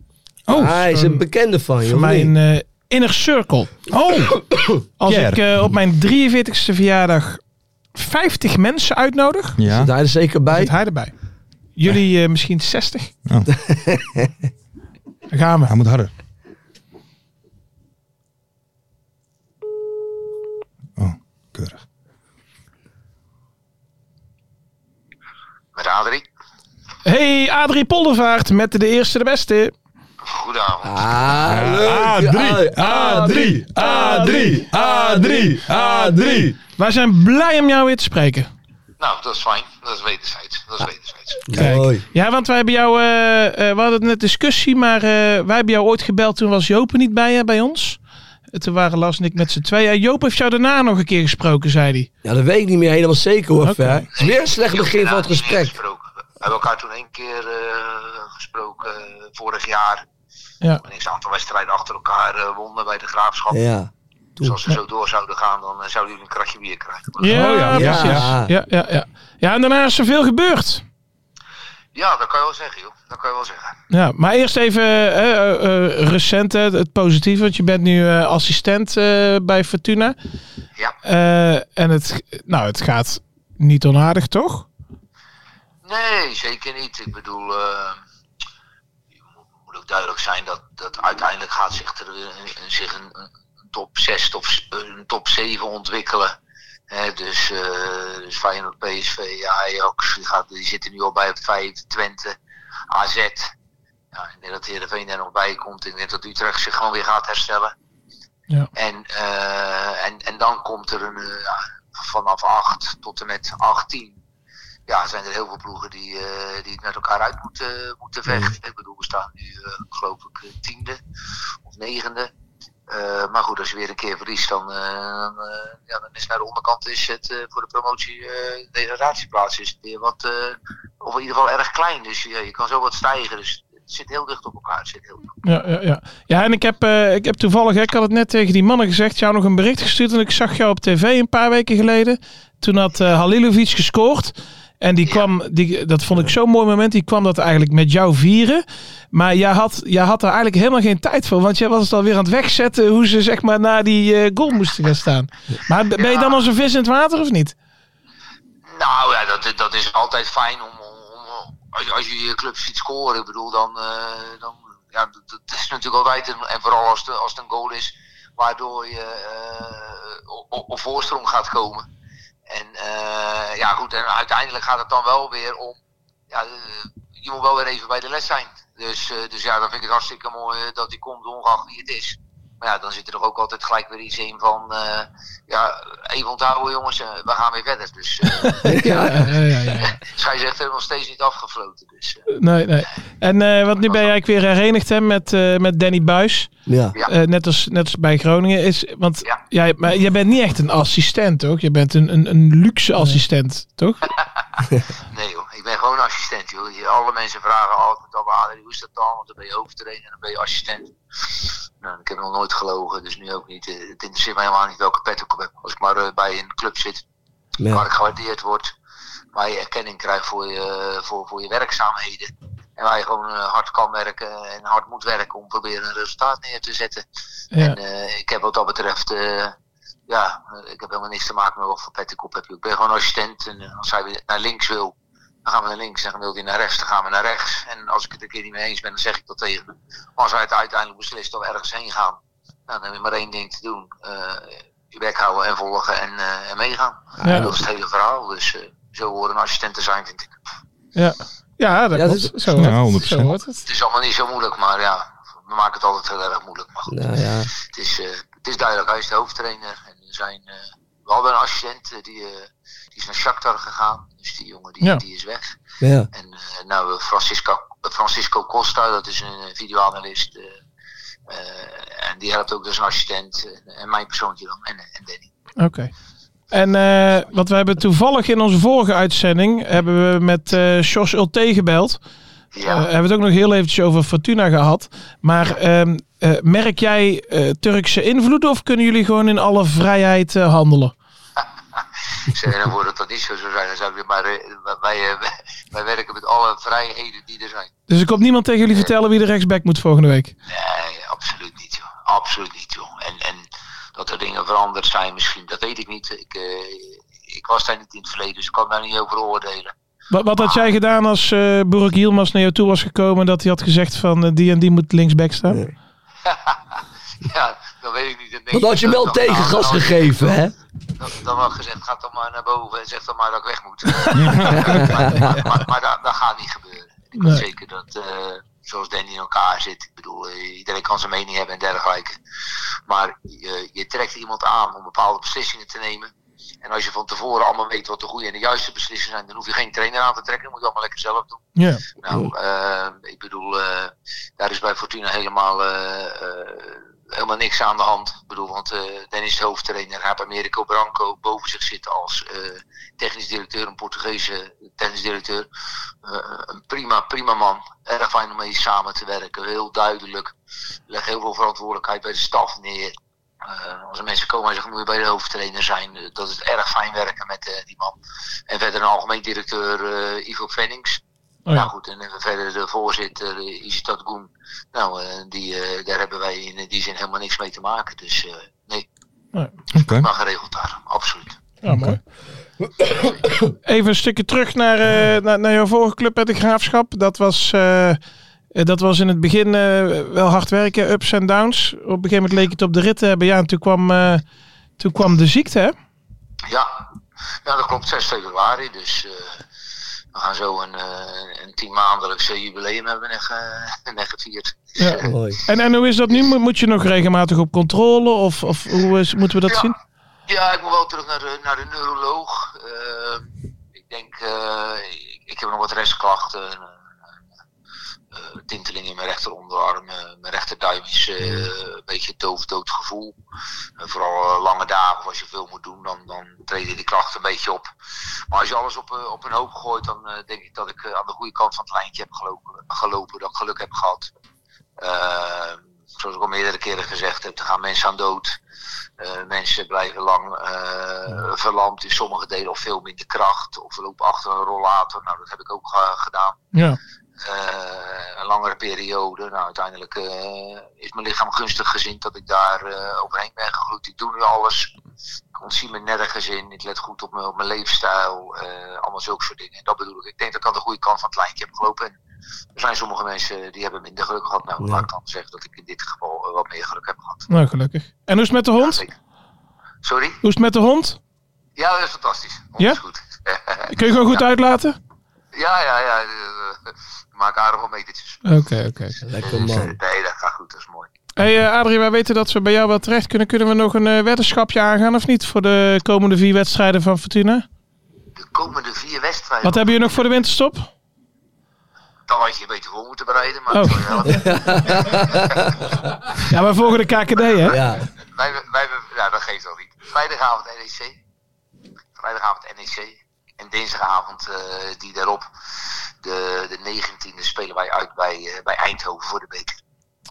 Oh, Hij is een bekende van je. Voor of niet? mijn eh, inner circle. Oh, Als Pierre. ik eh, op mijn 43ste verjaardag 50 mensen uitnodig, ja. Daar is zeker bij. zit hij erbij. Jullie eh, misschien 60. Oh. Daar gaan we. Hij moet harder. Oh, keurig. Met Adrie. Hey, Adrie Poldervaart met de eerste, de beste. Goedenavond. Ah, Eh, leuk. A3, A3, A3, A3, A3. Wij zijn blij om jou weer te spreken. Nou, dat is fijn. Dat is wederzijds. Dat is wederzijds. Kijk. Mooi. Ja, want wij hebben jou, eh, eh, we hadden net discussie, maar eh, wij hebben jou ooit gebeld. Toen was Joop er niet bij, hè, bij ons. Eh, Toen waren Lars en ik met z'n tweeën. Eh, Joop heeft jou daarna nog een keer gesproken, zei hij. Ja, dat weet ik niet meer helemaal zeker hoor, Oké. Ver. Het is weer een slecht begin van het Inderdaad, niet meer gesprek. gesproken. We hebben elkaar toen één keer eh, gesproken eh, vorig jaar. Ja. Een x-aantal wedstrijden achter elkaar eh, wonnen bij de graafschap. Ja. Dus als ze zo door zouden gaan, dan eh, zouden jullie een kratje bier krijgen. Maar- Ja, Oh ja, ja. precies. Ja. Ja. Ja, ja, Ja, en daarna is er veel gebeurd. Ja, dat kan je wel zeggen, joh. Dat kan je wel zeggen. Ja, maar eerst even eh, eh, eh, recent, hè, het positieve. Want je bent nu eh, assistent eh, bij Fortuna. Ja. Eh, en het, nou, het gaat niet onaardig, toch? Nee, zeker niet. Ik bedoel, eh, je moet- moet ook duidelijk zijn dat, dat uiteindelijk gaat zich, er, weer een- een- zich een, een top 6, top, s- een top 7 ontwikkelen. Hè, dus, eh dus Feyenoord, PSV, Ajax, die, gaat, die zitten nu al bij op 5, Twente, AZ. Ja, ik denk dat Heerenveen er nog bij komt. Ik denk dat Utrecht zich gewoon weer gaat herstellen. Ja. En, eh, en, en dan komt er een, eh, ja, vanaf 8 tot en met 18 ja, zijn er heel veel ploegen die, eh, die het met elkaar uit moeten, eh, moeten vechten. Ik bedoel, we staan nu eh, geloof ik eh, tiende of negende. Eh, maar goed, als je weer een keer verliest, dan, eh, dan, eh, ja, dan is naar de onderkant is het eh, voor de promotie eh degradatieplaats is het weer wat, eh, of in ieder geval erg klein. Dus je, je kan zo wat stijgen. Dus het zit heel dicht op elkaar. Het zit heel dicht. Ja, ja, ja. ja en ik heb, eh, ik heb toevallig, hè, ik had het net tegen die mannen gezegd, jou nog een bericht gestuurd. En ik zag jou op tv een paar weken geleden. Toen had eh Halilovic gescoord. En die kwam, die, dat vond ik zo'n mooi moment, die kwam dat eigenlijk met jou vieren. Maar jij had, jij had er eigenlijk helemaal geen tijd voor. Want jij was het alweer aan het wegzetten hoe ze zeg maar naar die eh, goal moesten gaan staan. Maar ben je dan als een vis in het water of niet? Nou ja, dat, dat is altijd fijn om, om, om- als, je- als je je club ziet scoren, ik bedoel, dan, eh, dan ja, dat, dat is natuurlijk altijd, een, en vooral als, de, als het een goal is, waardoor je eh, op- op, op voorsprong gaat komen. En eh, ja, goed, en uiteindelijk gaat het dan wel weer om, ja, eh, je moet wel weer even bij de les zijn. Dus, eh, dus ja, dan vind ik het hartstikke mooi eh, dat die komt, ongeacht wie het is. Maar ja, dan zit er toch ook altijd gelijk weer iets in van, eh, ja, even onthouden jongens, eh, we gaan weer verder. Dus eh, Ja. Ja, ja, ja, ja. scheidsrechter nog steeds niet afgefloten. Dus, eh, Nee, nee. En eh, want nu ben je eigenlijk weer herenigd hè, met, eh, met Danny Buis. Ja. ja. Eh, net, als, net als bij Groningen is. Want Ja. jij, maar jij bent niet echt een assistent, toch? Je bent een, een, een luxe assistent, toch? Nee joh, ik ben gewoon assistent joh. Je- Alle mensen vragen altijd al Adrie, hoe is dat dan? Want dan ben je hoofdtrainer en dan ben je assistent. Nou, ik heb nog nooit gelogen, dus nu ook niet. Eh, Het interesseert mij helemaal niet welke pet ik op heb. Als ik maar eh, bij een club zit waar Ja. ik gewaardeerd word, waar je erkenning krijgt voor je, voor, voor je werkzaamheden. En waar je gewoon eh, hard kan werken en hard moet werken om proberen een resultaat neer te zetten. Ja. En eh, ik heb wat dat betreft, eh, ja, eh, ik heb helemaal niks te maken met wat voor pet ik op heb. Ik ben gewoon assistent en eh, als hij weer naar links wil, dan gaan we naar links. En dan wil hij naar rechts, dan gaan we naar rechts. En als ik het een keer niet mee eens ben, dan zeg ik dat tegen hem. Maar als hij het uiteindelijk beslist dat we ergens heen gaan, nou, dan heb je maar één ding te doen. Eh, je bek houden en volgen en, eh, en meegaan. Ja. En dat is het hele verhaal. Dus eh, zo hoort een assistent te zijn, vind ik. Ja, ja dat Ja, klopt. dit- zo, Ja, hoort het. 100%. zo hoort het. Het is allemaal niet zo moeilijk, maar ja, we maken het altijd heel erg moeilijk. Maar goed. Nou ja. Het is, eh, het is duidelijk, hij is de hoofdtrainer. En er zijn, eh, we hadden een assistent eh, die, eh, die is naar Shakhtar gegaan. Dus die jongen die, Ja. die is weg. Ja. En eh, nou, eh, Francisco, Francisco Costa, dat is een eh, videoanalist. eh, eh, en die helpt ook dus een assistent. eh, en mijn persoontje dan, en, eh, en Danny. Oké. En eh, wat we hebben toevallig in onze vorige uitzending hebben we met eh Jos Ulte gebeld. Ja. hebben we het ook nog heel eventjes over Fortuna gehad. Maar ehm, eh, merk jij eh, Turkse invloeden of kunnen jullie gewoon in alle vrijheid eh, handelen? Zeg, dan wordt het dat niet zo zou zijn. Dan zou ik weer maar, eh, wij, eh, [laughs] wij werken met alle vrijheden die er zijn. Dus er komt niemand tegen jullie vertellen wie de rechtsback moet volgende week. Nee, absoluut niet, joh. Absoluut niet, joh. En, en dat er dingen veranderd zijn misschien, dat weet ik niet. Ik, eh, ik was daar niet in het verleden, dus ik kan daar niet over oordelen. [laughs] Wat, wat had jij gedaan als eh Burak Yilmaz naar jou toe was gekomen dat hij had gezegd van eh, die en die moet linksback staan? Nee. Ja, dat weet ik niet. Dan denk Dat ik had je dat- wel nou, dat- tegengas dan- dan- gegeven, hè? Dan, dan had ik gezegd, ga dan maar naar boven en zeg dan maar dat ik weg moet. maar maar, maar, maar dat, dat gaat niet gebeuren. Ik weet Nee. zeker dat, eh, zoals Danny in elkaar zit, ik bedoel, eh, iedereen kan zijn mening hebben en dergelijke. Maar je, je trekt iemand aan om bepaalde beslissingen te nemen. En als je van tevoren allemaal weet wat de goede en de juiste beslissingen zijn, dan hoef je geen trainer aan te trekken. Dat moet je allemaal lekker zelf doen. Ja. Nou, eh, ik bedoel, eh, daar is bij Fortuna helemaal, eh, eh, helemaal niks aan de hand. Ik bedoel, want eh Dennis, de hoofdtrainer, hij heeft Americo Branco boven zich zitten als eh, technisch directeur, een Portugese technisch directeur. Eh, een prima, prima man. Erg fijn om mee samen te werken. Heel duidelijk. Leg heel veel verantwoordelijkheid bij de staf neer. Eh, als er mensen komen en zeggen, moet je bij de hoofdtrainer zijn. Eh, dat is erg fijn werken met eh, die man. En verder een algemeen directeur, eh, Ivo Fennings. Oh Nou ja. goed, en eh, verder de voorzitter eh, is dat Goen. Nou, eh, die, eh, daar hebben wij in die zin helemaal niks mee te maken. Dus eh, nee, Oké. maar geregeld daar, absoluut. Ja, Ah, mooi. Even een stukje terug naar, eh, naar, naar jouw vorige club bij de Graafschap. Dat was, eh, eh, dat was in het begin eh, wel hard werken, ups en downs. Op een gegeven moment leek het op de rit te hebben. Ja, en toen kwam, eh, toen kwam de ziekte, hè? Ja, ja dat klopt, 6 februari. Dus eh, we gaan zo een, eh een tienmaandelijkse jubileum hebben [laughs] we net, ge- net gevierd. Mooi. En, en hoe is dat nu? Moet- Moet je nog regelmatig op controle? Of, of hoe is, moeten we dat ja. zien? Ja, ik moet wel terug naar de, naar de neuroloog. Eh, ik denk, eh, ik, ik heb nog wat restklachten. eh, eh, tinteling in mijn rechteronderarm. eh, mijn rechterduim is eh, een beetje een doof, dood gevoel. En vooral eh, lange dagen, als je veel moet doen, dan, dan treden die klachten een beetje op. Maar als je alles op, eh, op een hoop gooit, dan eh, denk ik dat ik eh, aan de goede kant van het lijntje heb gelopen. gelopen dat ik geluk heb gehad. Eh, zoals ik al meerdere keren gezegd heb, er gaan mensen aan dood. Eh, mensen blijven lang eh, verlamd in sommige delen of veel minder kracht. Of lopen achter een rollator. Nou, dat heb ik ook eh, gedaan. Ja. Eh, een langere periode. Nou, uiteindelijk eh, is mijn lichaam gunstig gezind dat ik daar eh, overheen ben gegroeid. Ik doe nu alles. Ik ontzie me nergens in. Ik let goed op mijn, op mijn leefstijl. eh, allemaal zulke soort dingen. En dat bedoel ik. Ik denk dat ik aan de goede kant van het lijntje heb gelopen. En er zijn sommige mensen die hebben minder geluk gehad. Nou, Ja. laat ik dan zeggen dat ik in dit geval eh, wat meer geluk heb gehad. Nou, gelukkig. En hoe is het met de hond? Zeker. Sorry? Hoe is het met de hond? Ja, dat is fantastisch. Hond Ja? is goed. [laughs] Kun je gewoon goed uitlaten? ja, ja, ja. eh, Ik maak aardig wat metertjes. Oké, oké. Lekker Dus, eh, man. [laughs] nee, dat gaat goed. Dat is mooi. Hey eh, Adrie, wij weten dat we bij jou wel terecht kunnen. Kunnen we nog een eh, weddenschapje aangaan of niet voor de komende vier wedstrijden van Fortuna? De komende vier wedstrijden. Wat hebben jullie nog voor de winterstop? Dan had je beter voor moeten bereiden. Maar Oh. het zal wel. [laughs] Ja, wij volgen de KKD, hè? Ja, wij, wij, wij, nou, dat geeft al niet. Vrijdagavond NEC. Vrijdagavond NEC. En dinsdagavond eh, die daarop. De, de 19e spelen wij uit bij, eh, bij Eindhoven voor de beker.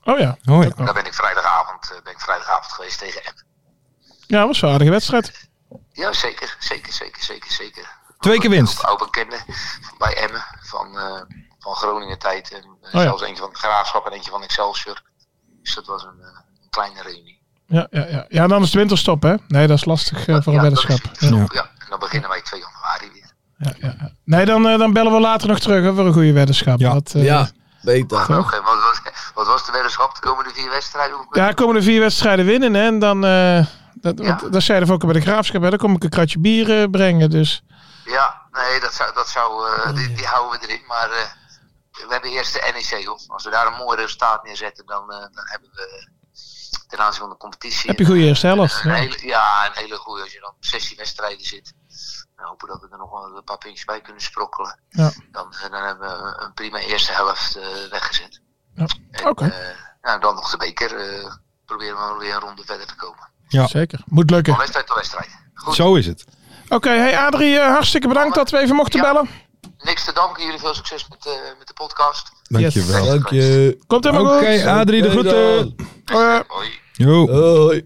Oh ja. Oh ja. Daar ben ik vrijdagavond, eh, ben ik vrijdagavond geweest tegen Emmen. Ja, was wel een aardige wedstrijd. Ja, zeker. Zeker, zeker, zeker, zeker. Twee keer winst. Oude bekende bij Emmen van, eh, van Groningen tijd. En eh, Oh ja. zelfs eentje van het Graafschap en eentje van Excelsior. Dus dat was een, eh, een kleine reunie. Ja, ja, ja. ja, en dan is de winterstop, hè? Nee, dat is lastig eh, voor een Ja, dat weddenschap. is- Ja, Ja, en dan beginnen wij 2 januari weer. ja, ja, ja. Nee, dan, eh, dan bellen we later nog terug hè, voor een goede weddenschap. Ja. Dat, eh, ja, beter. Oké, wat, was, wat was de weddenschap de komende vier wedstrijden? ja, komende vier wedstrijden winnen, hè? En dan, eh dat, Ja. want dat zei je ook al bij de Graafschap, hè? Dan kom ik een kratje bier eh, brengen, dus... Ja, nee, dat zou, dat zou, eh, Oh, die, die houden we erin. Maar eh, we hebben eerst de NEC, hoor. Als we daar een mooi resultaat neerzetten, dan, eh, dan hebben we ten aanzien van de competitie... Heb je goede eerste helft, Een ja. hele, ja, een hele goede. Als je dan op 16 wedstrijden zit, dan hopen we dat we er nog wel een paar puntjes bij kunnen sprokkelen. Ja. Dan, eh, dan hebben we een prima eerste helft eh, weggezet. Ja. En, Oké. eh, nou, dan nog de beker. eh, proberen we weer een ronde verder te komen. Ja. Zeker. Moet lukken. Van wedstrijd tot wedstrijd. Goed. Zo is het. Oké, hey Adrie, eh, hartstikke bedankt dat we even mochten Ja. bellen. niks te danken. Jullie veel succes met, eh, met de podcast. Dankjewel. Yes. Dank je. Komt Oké, helemaal goed. Adrie, de Oké groeten. Eh, Hoi. Jo, Hoi.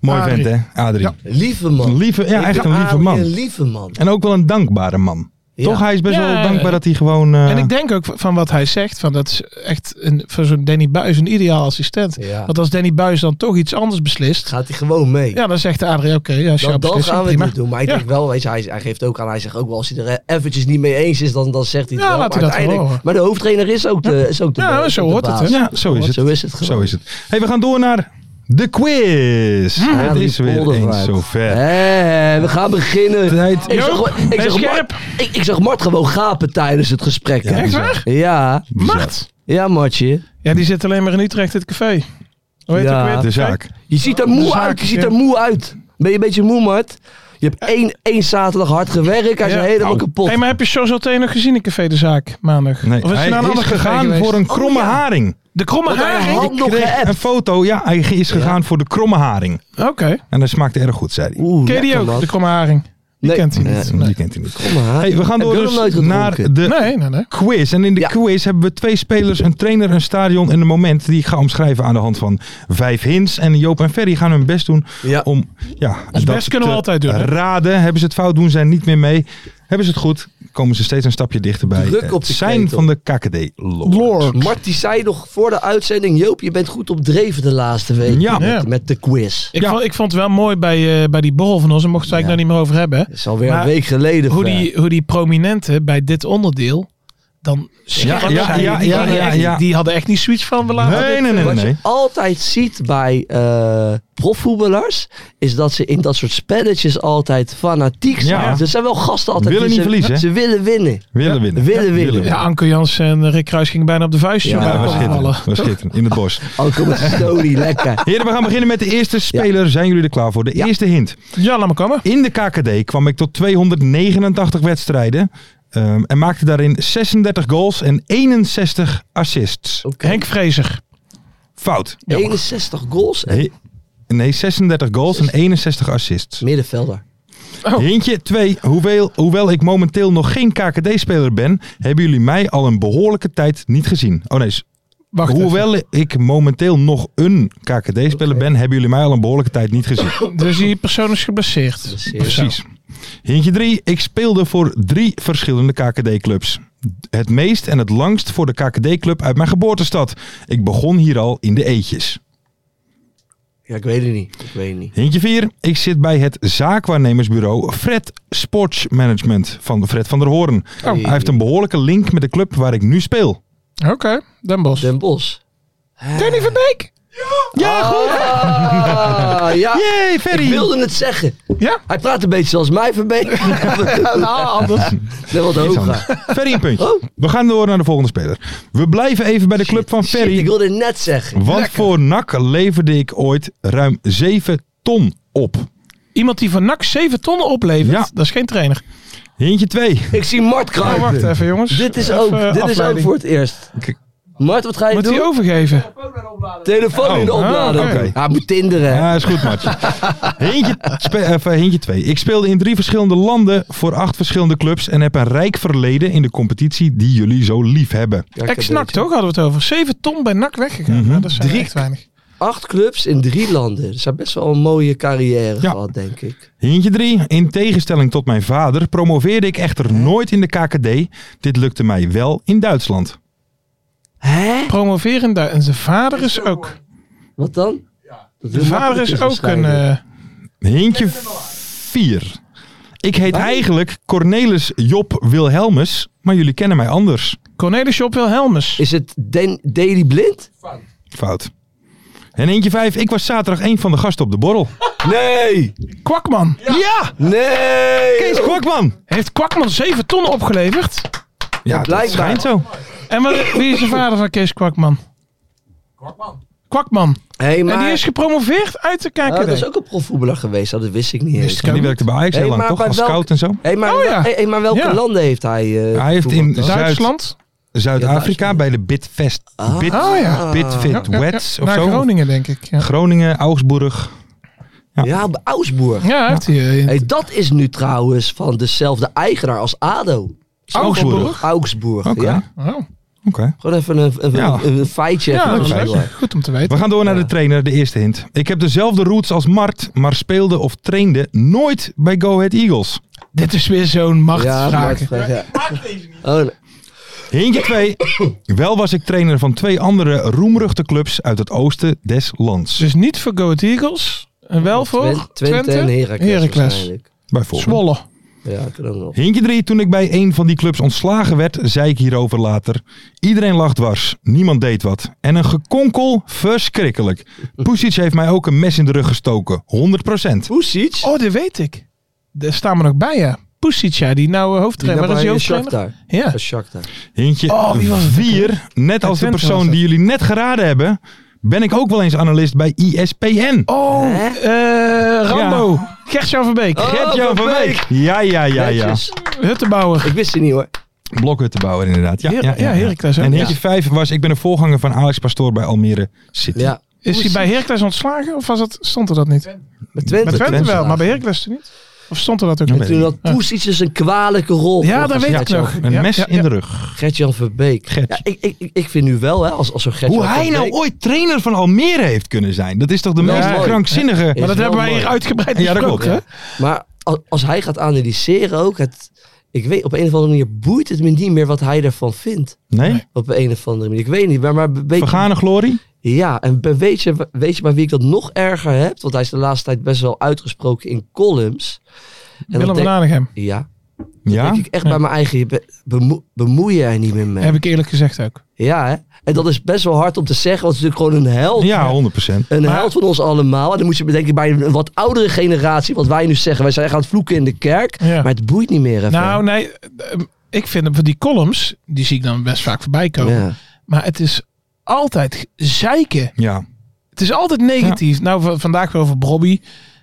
mooi Adrie. vent hè, Adrie. Ja. Lieve man. Een lieve, ja, Ik echt een ben lieve Arie man. Een lieve man. En ook wel een dankbare man. Ja. Toch, hij is best Ja, wel ja, dankbaar ja. dat hij gewoon... eh, En ik denk ook van wat hij zegt, van dat is echt een, voor zo'n Danny Buis een ideaal assistent. Ja. Want als Danny Buis dan toch iets anders beslist, Gaat hij gewoon mee. ja, dan zegt Adrie, oké, ja, als jouw Dan, dan beslissing, gaan we het prima. niet doen. Maar ik Ja. denk wel, weet je, hij, hij geeft ook aan, hij zegt ook wel, als hij er eh, eventjes niet mee eens is, dan, dan zegt hij het Ja, laat wel. maar hij dat uiteindelijk- horen. Maar de hoofdtrainer is ook de is ook de Ja, nou, is ook zo de hoort baas. het, hè? Ja, zo is het. Zo is het gewoon. Zo is het. Hey, we gaan door naar de quiz. het Harry is weer Poldervaart. eens zover. Hé, Eh, we gaan beginnen. Tijd. Ik zag, Joop, gewoon- ik, ben zag scherp. Mart, ik, ik zag Mart gewoon gapen tijdens het gesprek. hè. Echt waar? Ja, Mart? ja, Martje. Ja, die zit alleen maar in Utrecht, het café. Hoe heet Ja. ook weer het De café? zaak. Je ziet er moe zaak, uit. Je ja. ziet er moe uit. Ben je een beetje moe, Mart? Je hebt één, één zaterdag hard gewerkt. Hij is Ja. Oh. helemaal kapot. Hey, maar heb je Chosolté nog gezien in Café de Zaak maandag? Nee, of is hij naar hij een is ander café gegaan geweest? voor een kromme Oh, ja. haring. De kromme Want hij haring? had nog Kreeg geappt. een foto. Ja, hij is gegaan voor de kromme haring. Oké. En dat smaakte erg goed, zei hij. Oeh, Ken je die lekker, ook, man. de kromme haring? Die Nee. kent hij niet. Die Nee. kent hij niet. Kom maar. Hey, we gaan Heb door je nog nooit dus gedronken? naar de Nee, nee, nee. quiz. En in de Ja. quiz hebben we twee spelers, een trainer, een stadion en een moment. Die ik ga omschrijven aan de hand van vijf hints. En Joop en Ferry gaan hun best doen Ja. om... Ja, Ons dat best kunnen we te altijd doen, hè? Raden. Hebben ze het fout, doen zij niet meer mee. Hebben ze het goed, komen ze steeds een stapje dichterbij. Druk op het de zijn ketel. van de KKD Lord. Mart die zei nog voor de uitzending, Joop, je bent goed op dreven de laatste week Ja. met, Ja. met de quiz. Ik, Ja. vond, ik vond het wel mooi bij, eh, bij die borrel van ons, daar mochten we het eigenlijk nog niet meer over hebben. Dat is alweer Maar een week geleden. Hoe Frank. die, hoe die prominenten bij dit onderdeel dan scherp ja, zijn. ja, die, ja, waren ja, echt- ja. die hadden echt niet zoiets van we laten Nee, dit, nee, nee, eh, nee. Wat je altijd ziet bij eh profvoetballers, is dat ze in dat soort spelletjes altijd fanatiek zijn. Ja. Ze zijn wel gasten altijd. Willen die niet ze, verliezen, hè? Ze willen winnen. Willen winnen. Willen winnen. Ja, Anke Jans en Rick Kruis gingen bijna op de vuistje Ja, om Ja, elkaar was te vallen. schitterend. Was schitterend. In het bos. Ook [laughs] om het story lekker. Heren, we gaan beginnen met de eerste speler. Zijn jullie er klaar voor? De Ja. eerste hint. Ja, laat maar komen. In de KKD kwam ik tot 289 wedstrijden. ehm, en maakte daarin 36 goals en 61 assists. Oké. Henk Vrezer. Fout. Ja. 61 goals en He- nee, 36 goals en 61 assists. middenvelder. Hintje 2. Hoewel, hoewel ik momenteel nog geen KKD-speler ben, hebben jullie mij al een behoorlijke tijd niet gezien. Oh nee, s- Wacht hoewel ik momenteel nog een KKD-speler ben, hebben jullie mij al een behoorlijke tijd niet gezien. even. Dus die persoon is geblesseerd. Precies. Hintje 3. Ik speelde voor drie verschillende KKD-clubs. Het meest en het langst voor de KKD-club uit mijn geboortestad. Ik begon hier al in de eetjes. Ja, ik weet het niet. Ik weet het niet. Hintje 4. Ik zit bij het zaakwaarnemersbureau Fred Sports Management van Fred van der Hoorn. Oh. Hij heeft een behoorlijke link met de club waar ik nu speel. Oké, Den Bos. Den Bos. Danny van Beek. Ja, goed! Ah, ja. Yay, Ferry! Oh. Ik wilde het zeggen. Ja. Hij praat een beetje zoals mij verbeter. [laughs] [laughs] Ah, anders. Net wat Iets hoger. anders. Ferry een puntje. Oh. We gaan door naar de volgende speler. We blijven even bij de club van Shit, Ferry. ik wilde het net zeggen. Want voor NAC leverde ik ooit ruim 7 ton op. Iemand die van NAC 7 tonnen oplevert, Ja. dat is geen trainer. Hintje 2. Ik zie Mart Oh, kruipen. wacht even jongens. Dit is Even ook, dit is ook afleiding. voor het eerst. Kijk. Mart, wat ga je Moet doen? hij overgeven? Telefoon in de Oh, oplader. ah, oké. Hij moet tinderen. Ja, is goed, Martje. Hintje, spe- eh, hintje 2. Ik speelde in drie verschillende landen voor acht verschillende clubs en heb een rijk verleden in de competitie die jullie zo lief hebben. Ex-NAC toch hadden we het over. 7 ton bij NAC weggegaan. Mhm. Nou, dat is echt weinig. Acht clubs in drie landen. Dus hij heeft best wel een mooie carrière Ja. gehad, denk ik. Hintje 3. In tegenstelling tot mijn vader promoveerde ik echter nooit in de KKD. Dit lukte mij wel in Duitsland. Hè? Promoveren daar. En zijn vader is ook. Wat dan? Dat De heel vader makkelijk is ook een... waarschijnlijk. eh, Hintje 4. Ik heet eigenlijk Cornelis Job Wilhelmus, maar jullie kennen mij anders. Cornelis Job Wilhelmus. Is het Den Daily Blind? Fout. En eentje 5. Ik was zaterdag een van de gasten op de borrel. Nee! Kwakman. Ja! Nee! Kees Kwakman! Heeft Kwakman 7 ton opgeleverd? Ja, dat blijkbaar. schijnt zo. En wat, wie is de vader van Kees Kwakman? Kwakman. Kwakman. Hey, En maar... die is gepromoveerd uit de KKD. Oh, dat is ook een profvoetballer geweest. Oh, dat wist ik niet Wist eens. ik En ook die niet. werkte bij Ajax heel Hey, lang, maar toch? bij Als welk- scout en zo. Hey, maar, Oh, ja. hey, hey, maar welke Ja. landen heeft hij? eh, Hij heeft in voetbal? Duitsland. Zuid-Afrika bij de Bitfest. Bit, Ah, ja. Bitfit Ja, ja, Wets ja. of Naar zo. Groningen, denk ik. Ja. Groningen, Augsburg. Ja. Ja, bij Augsburg. Ja, heeft hij. eh, Hey, dat is nu trouwens van dezelfde eigenaar als ADO. Augsburg. Augsburg, Oké. ja. Oh, Oké. Gewoon even een, een, Ja. een- een feitje. ja, even dat is tussendoor. leuk. Goed om te weten. We gaan door naar de trainer, de eerste hint. Ik heb dezelfde roots als Mart, maar speelde of trainde nooit bij Go Ahead Eagles. Dit is weer zo'n Ja, machtsvraag. marktvraag, ja. Oh, nee. Hintje 2. Wel was ik trainer van twee andere roemruchte clubs uit het oosten des lands. dus niet voor Go Ahead Eagles. En wel voor Twen- Twente, en Heracles, Heracles. waarschijnlijk. Bijvoorbeeld. Zwolle. Ja, kan ook nog. Hintje 3. Toen ik bij een van die clubs ontslagen werd, zei ik hierover later. Iedereen lag dwars. Niemand deed wat. En een gekonkel, verschrikkelijk. Pusic heeft mij ook een mes in de rug gestoken. 100%. Pusic? Oh, dat weet ik. Daar staan we nog bij, ja. Pusic, ja, die nou eh, Die hoofdtrainer. naar Waar is die bij hoofdtrainer? Shakhtar. Ja. Bij Shakhtar. Hintje Oh, wie was het ook 4. Net als de Twente was persoon het. die jullie net geraden hebben, ben ik ook wel eens analist bij ESPN. Oh, eh, Rambo. Gert-Jan Verbeek. Oh, Gert-Jan Van van Beek. Ja, ja, ja, ja. Netjes. Huttenbouwer. Ik wist het niet hoor. Blokhuttenbouwer inderdaad. Ja, Heer- ja, ja, Heracles, hè? En Ja. hintje 5 was, ik ben een voorganger van Alex Pastoor bij Almere City. Ja. Is hij bij Heracles ontslagen of was dat, stond er dat niet? Met Twente. Bij Twente Twente. wel, maar bij Heracles toen niet? Of stond er dat ook Ja, niet? weet Toen had Poes dus een kwalijke rol. Ja, dat volgens weet ik Gert-Jan. nog. Een Ja, mes ja, in ja. de rug. Gert-Jan Verbeek. Gert. Ja, ik, ik, ik vind nu wel, hè, als, als zo'n Gert-Jan Hoe hij nou Verbeek- ooit trainer van Almere heeft kunnen zijn. Dat is toch de Ja, meest mooi. krankzinnige... Ja. Maar dat wel hebben wij mooi. hier uitgebreid Ja, dat besproken. klopt. hè? Maar als, als hij gaat analyseren ook, het, ik weet, op een of andere manier boeit het me niet meer wat hij ervan vindt. Nee? Op een of andere manier. Ik weet niet, maar, maar weet je- Vergane glorie? Ja, en be- weet je, weet je bij wie ik dat nog erger heb? Want hij is de laatste tijd best wel uitgesproken in columns. En dan Willem van denk- Hanegem. Ja, Ja? denk ik echt bij mijn eigen, je be- bemoe- bemoei je er niet meer mee. Heb ik eerlijk gezegd ook. Ja, hè? En dat is best wel hard om te zeggen, want het is natuurlijk gewoon een held. Ja, 100%. Een held van ons allemaal. En dan moet je bedenken bij een wat oudere generatie, wat wij nu zeggen. Wij zijn gaan vloeken in de kerk, Ja. maar het boeit niet meer. Even. Nou, nee. eh, Ik vind hem van die columns, die zie ik dan best vaak voorbij komen. ja. Maar het is altijd zeiken. Ja. Het is altijd negatief. Nou, v- vandaag weer over Bobby.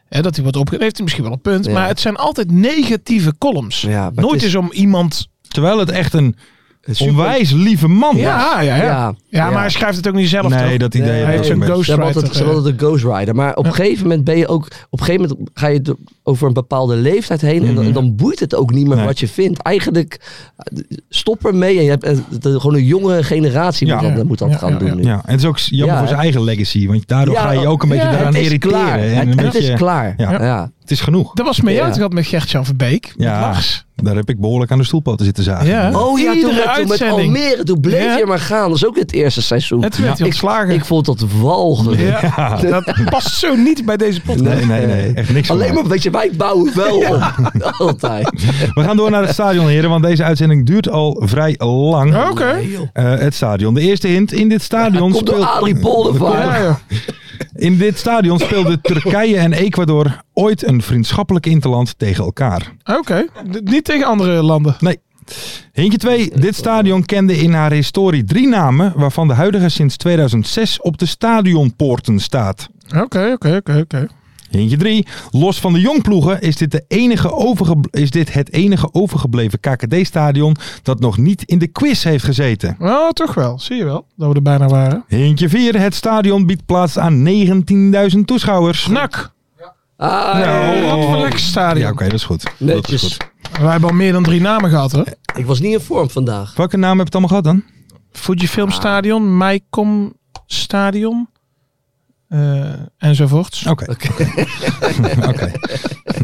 Hè, dat hij wordt opgegeven. Heeft hij misschien wel een punt. Ja. Maar het zijn altijd negatieve columns. Ja, maar Nooit het is... is- om iemand... Terwijl het echt een Het is super- onwijs lieve man was. Ja, ja, ja. Ja. ja, Ja. maar hij schrijft het ook niet zelf. Nee, toch? dat idee Nee, heb hij ik heeft ook zo'n een beetje. Ze hebben altijd, ze Ghostwriter, eh, hebben altijd een ghostwriter. Maar op een gegeven moment ben je ook. Op een gegeven moment ga je d- over een bepaalde leeftijd heen. En dan, en dan boeit het ook niet meer Mhm. Nee. wat je vindt. Eigenlijk eh, stop ermee. En je hebt eh, de- gewoon een jonge generatie Ja. moet dat, moet dat Ja, gaan ja, ja. doen. nu. Ja, en het is ook jammer Ja, voor zijn eigen legacy. Want daardoor Ja, ga je ook een ja, beetje daaraan het is irriteren. klaar. en Het, een het beetje- is klaar. Ja. Ja. Het is genoeg. Dat was mee Ja. uit gehad met Gert-Jan Verbeek. Ja. Ja. Met Lars. Daar heb ik behoorlijk aan de stoelpoten zitten zagen. Ja. Oh ja, toen, Iedere met- toen met uitzending. Almere, toen bleef Ja. je maar gaan. Dat is ook het eerste seizoen. En toen werd hij ontslagen. ik, ik vond dat walgelijk. Ja. Dat past zo niet bij deze podcast. Nee, nee, nee. Echt niks van Alleen mij. maar, weet je, wij bouwen wel op. [laughs] Altijd. We gaan door naar het stadion, heren. Want deze uitzending duurt al vrij lang. Oké. Eh, het stadion. De eerste hint. In dit stadion, Komt door speelt- Adrie Ja, Poldervaart. ja. in dit stadion speelden Turkije en Ecuador ooit een vriendschappelijk interland tegen elkaar. Oké. D- Niet tegen andere landen. Hintje 2. Dit stadion kende in haar historie drie namen, waarvan de huidige sinds 2006 op de stadionpoorten staat. Oké, oké, oké, oké. Hintje 3. Los van de jongploegen is dit, de enige overge- is dit het enige overgebleven KKD-stadion dat nog niet in de quiz heeft gezeten. Nou, toch wel. Zie je wel. Dat we er bijna waren. Hintje 4. Het stadion biedt plaats aan 19.000 toeschouwers. Nak. Ah, Wat voor lekker stadion. Ja, oké, dat is goed. Dat is Netjes. goed. Wij hebben al meer dan drie namen gehad, hè? Ik was niet in vorm vandaag. Welke naam heb je het allemaal gehad dan? Fujifilm Stadion, Ah. Maicom Stadion, eh, enzovoorts. Oké. [laughs] Oké.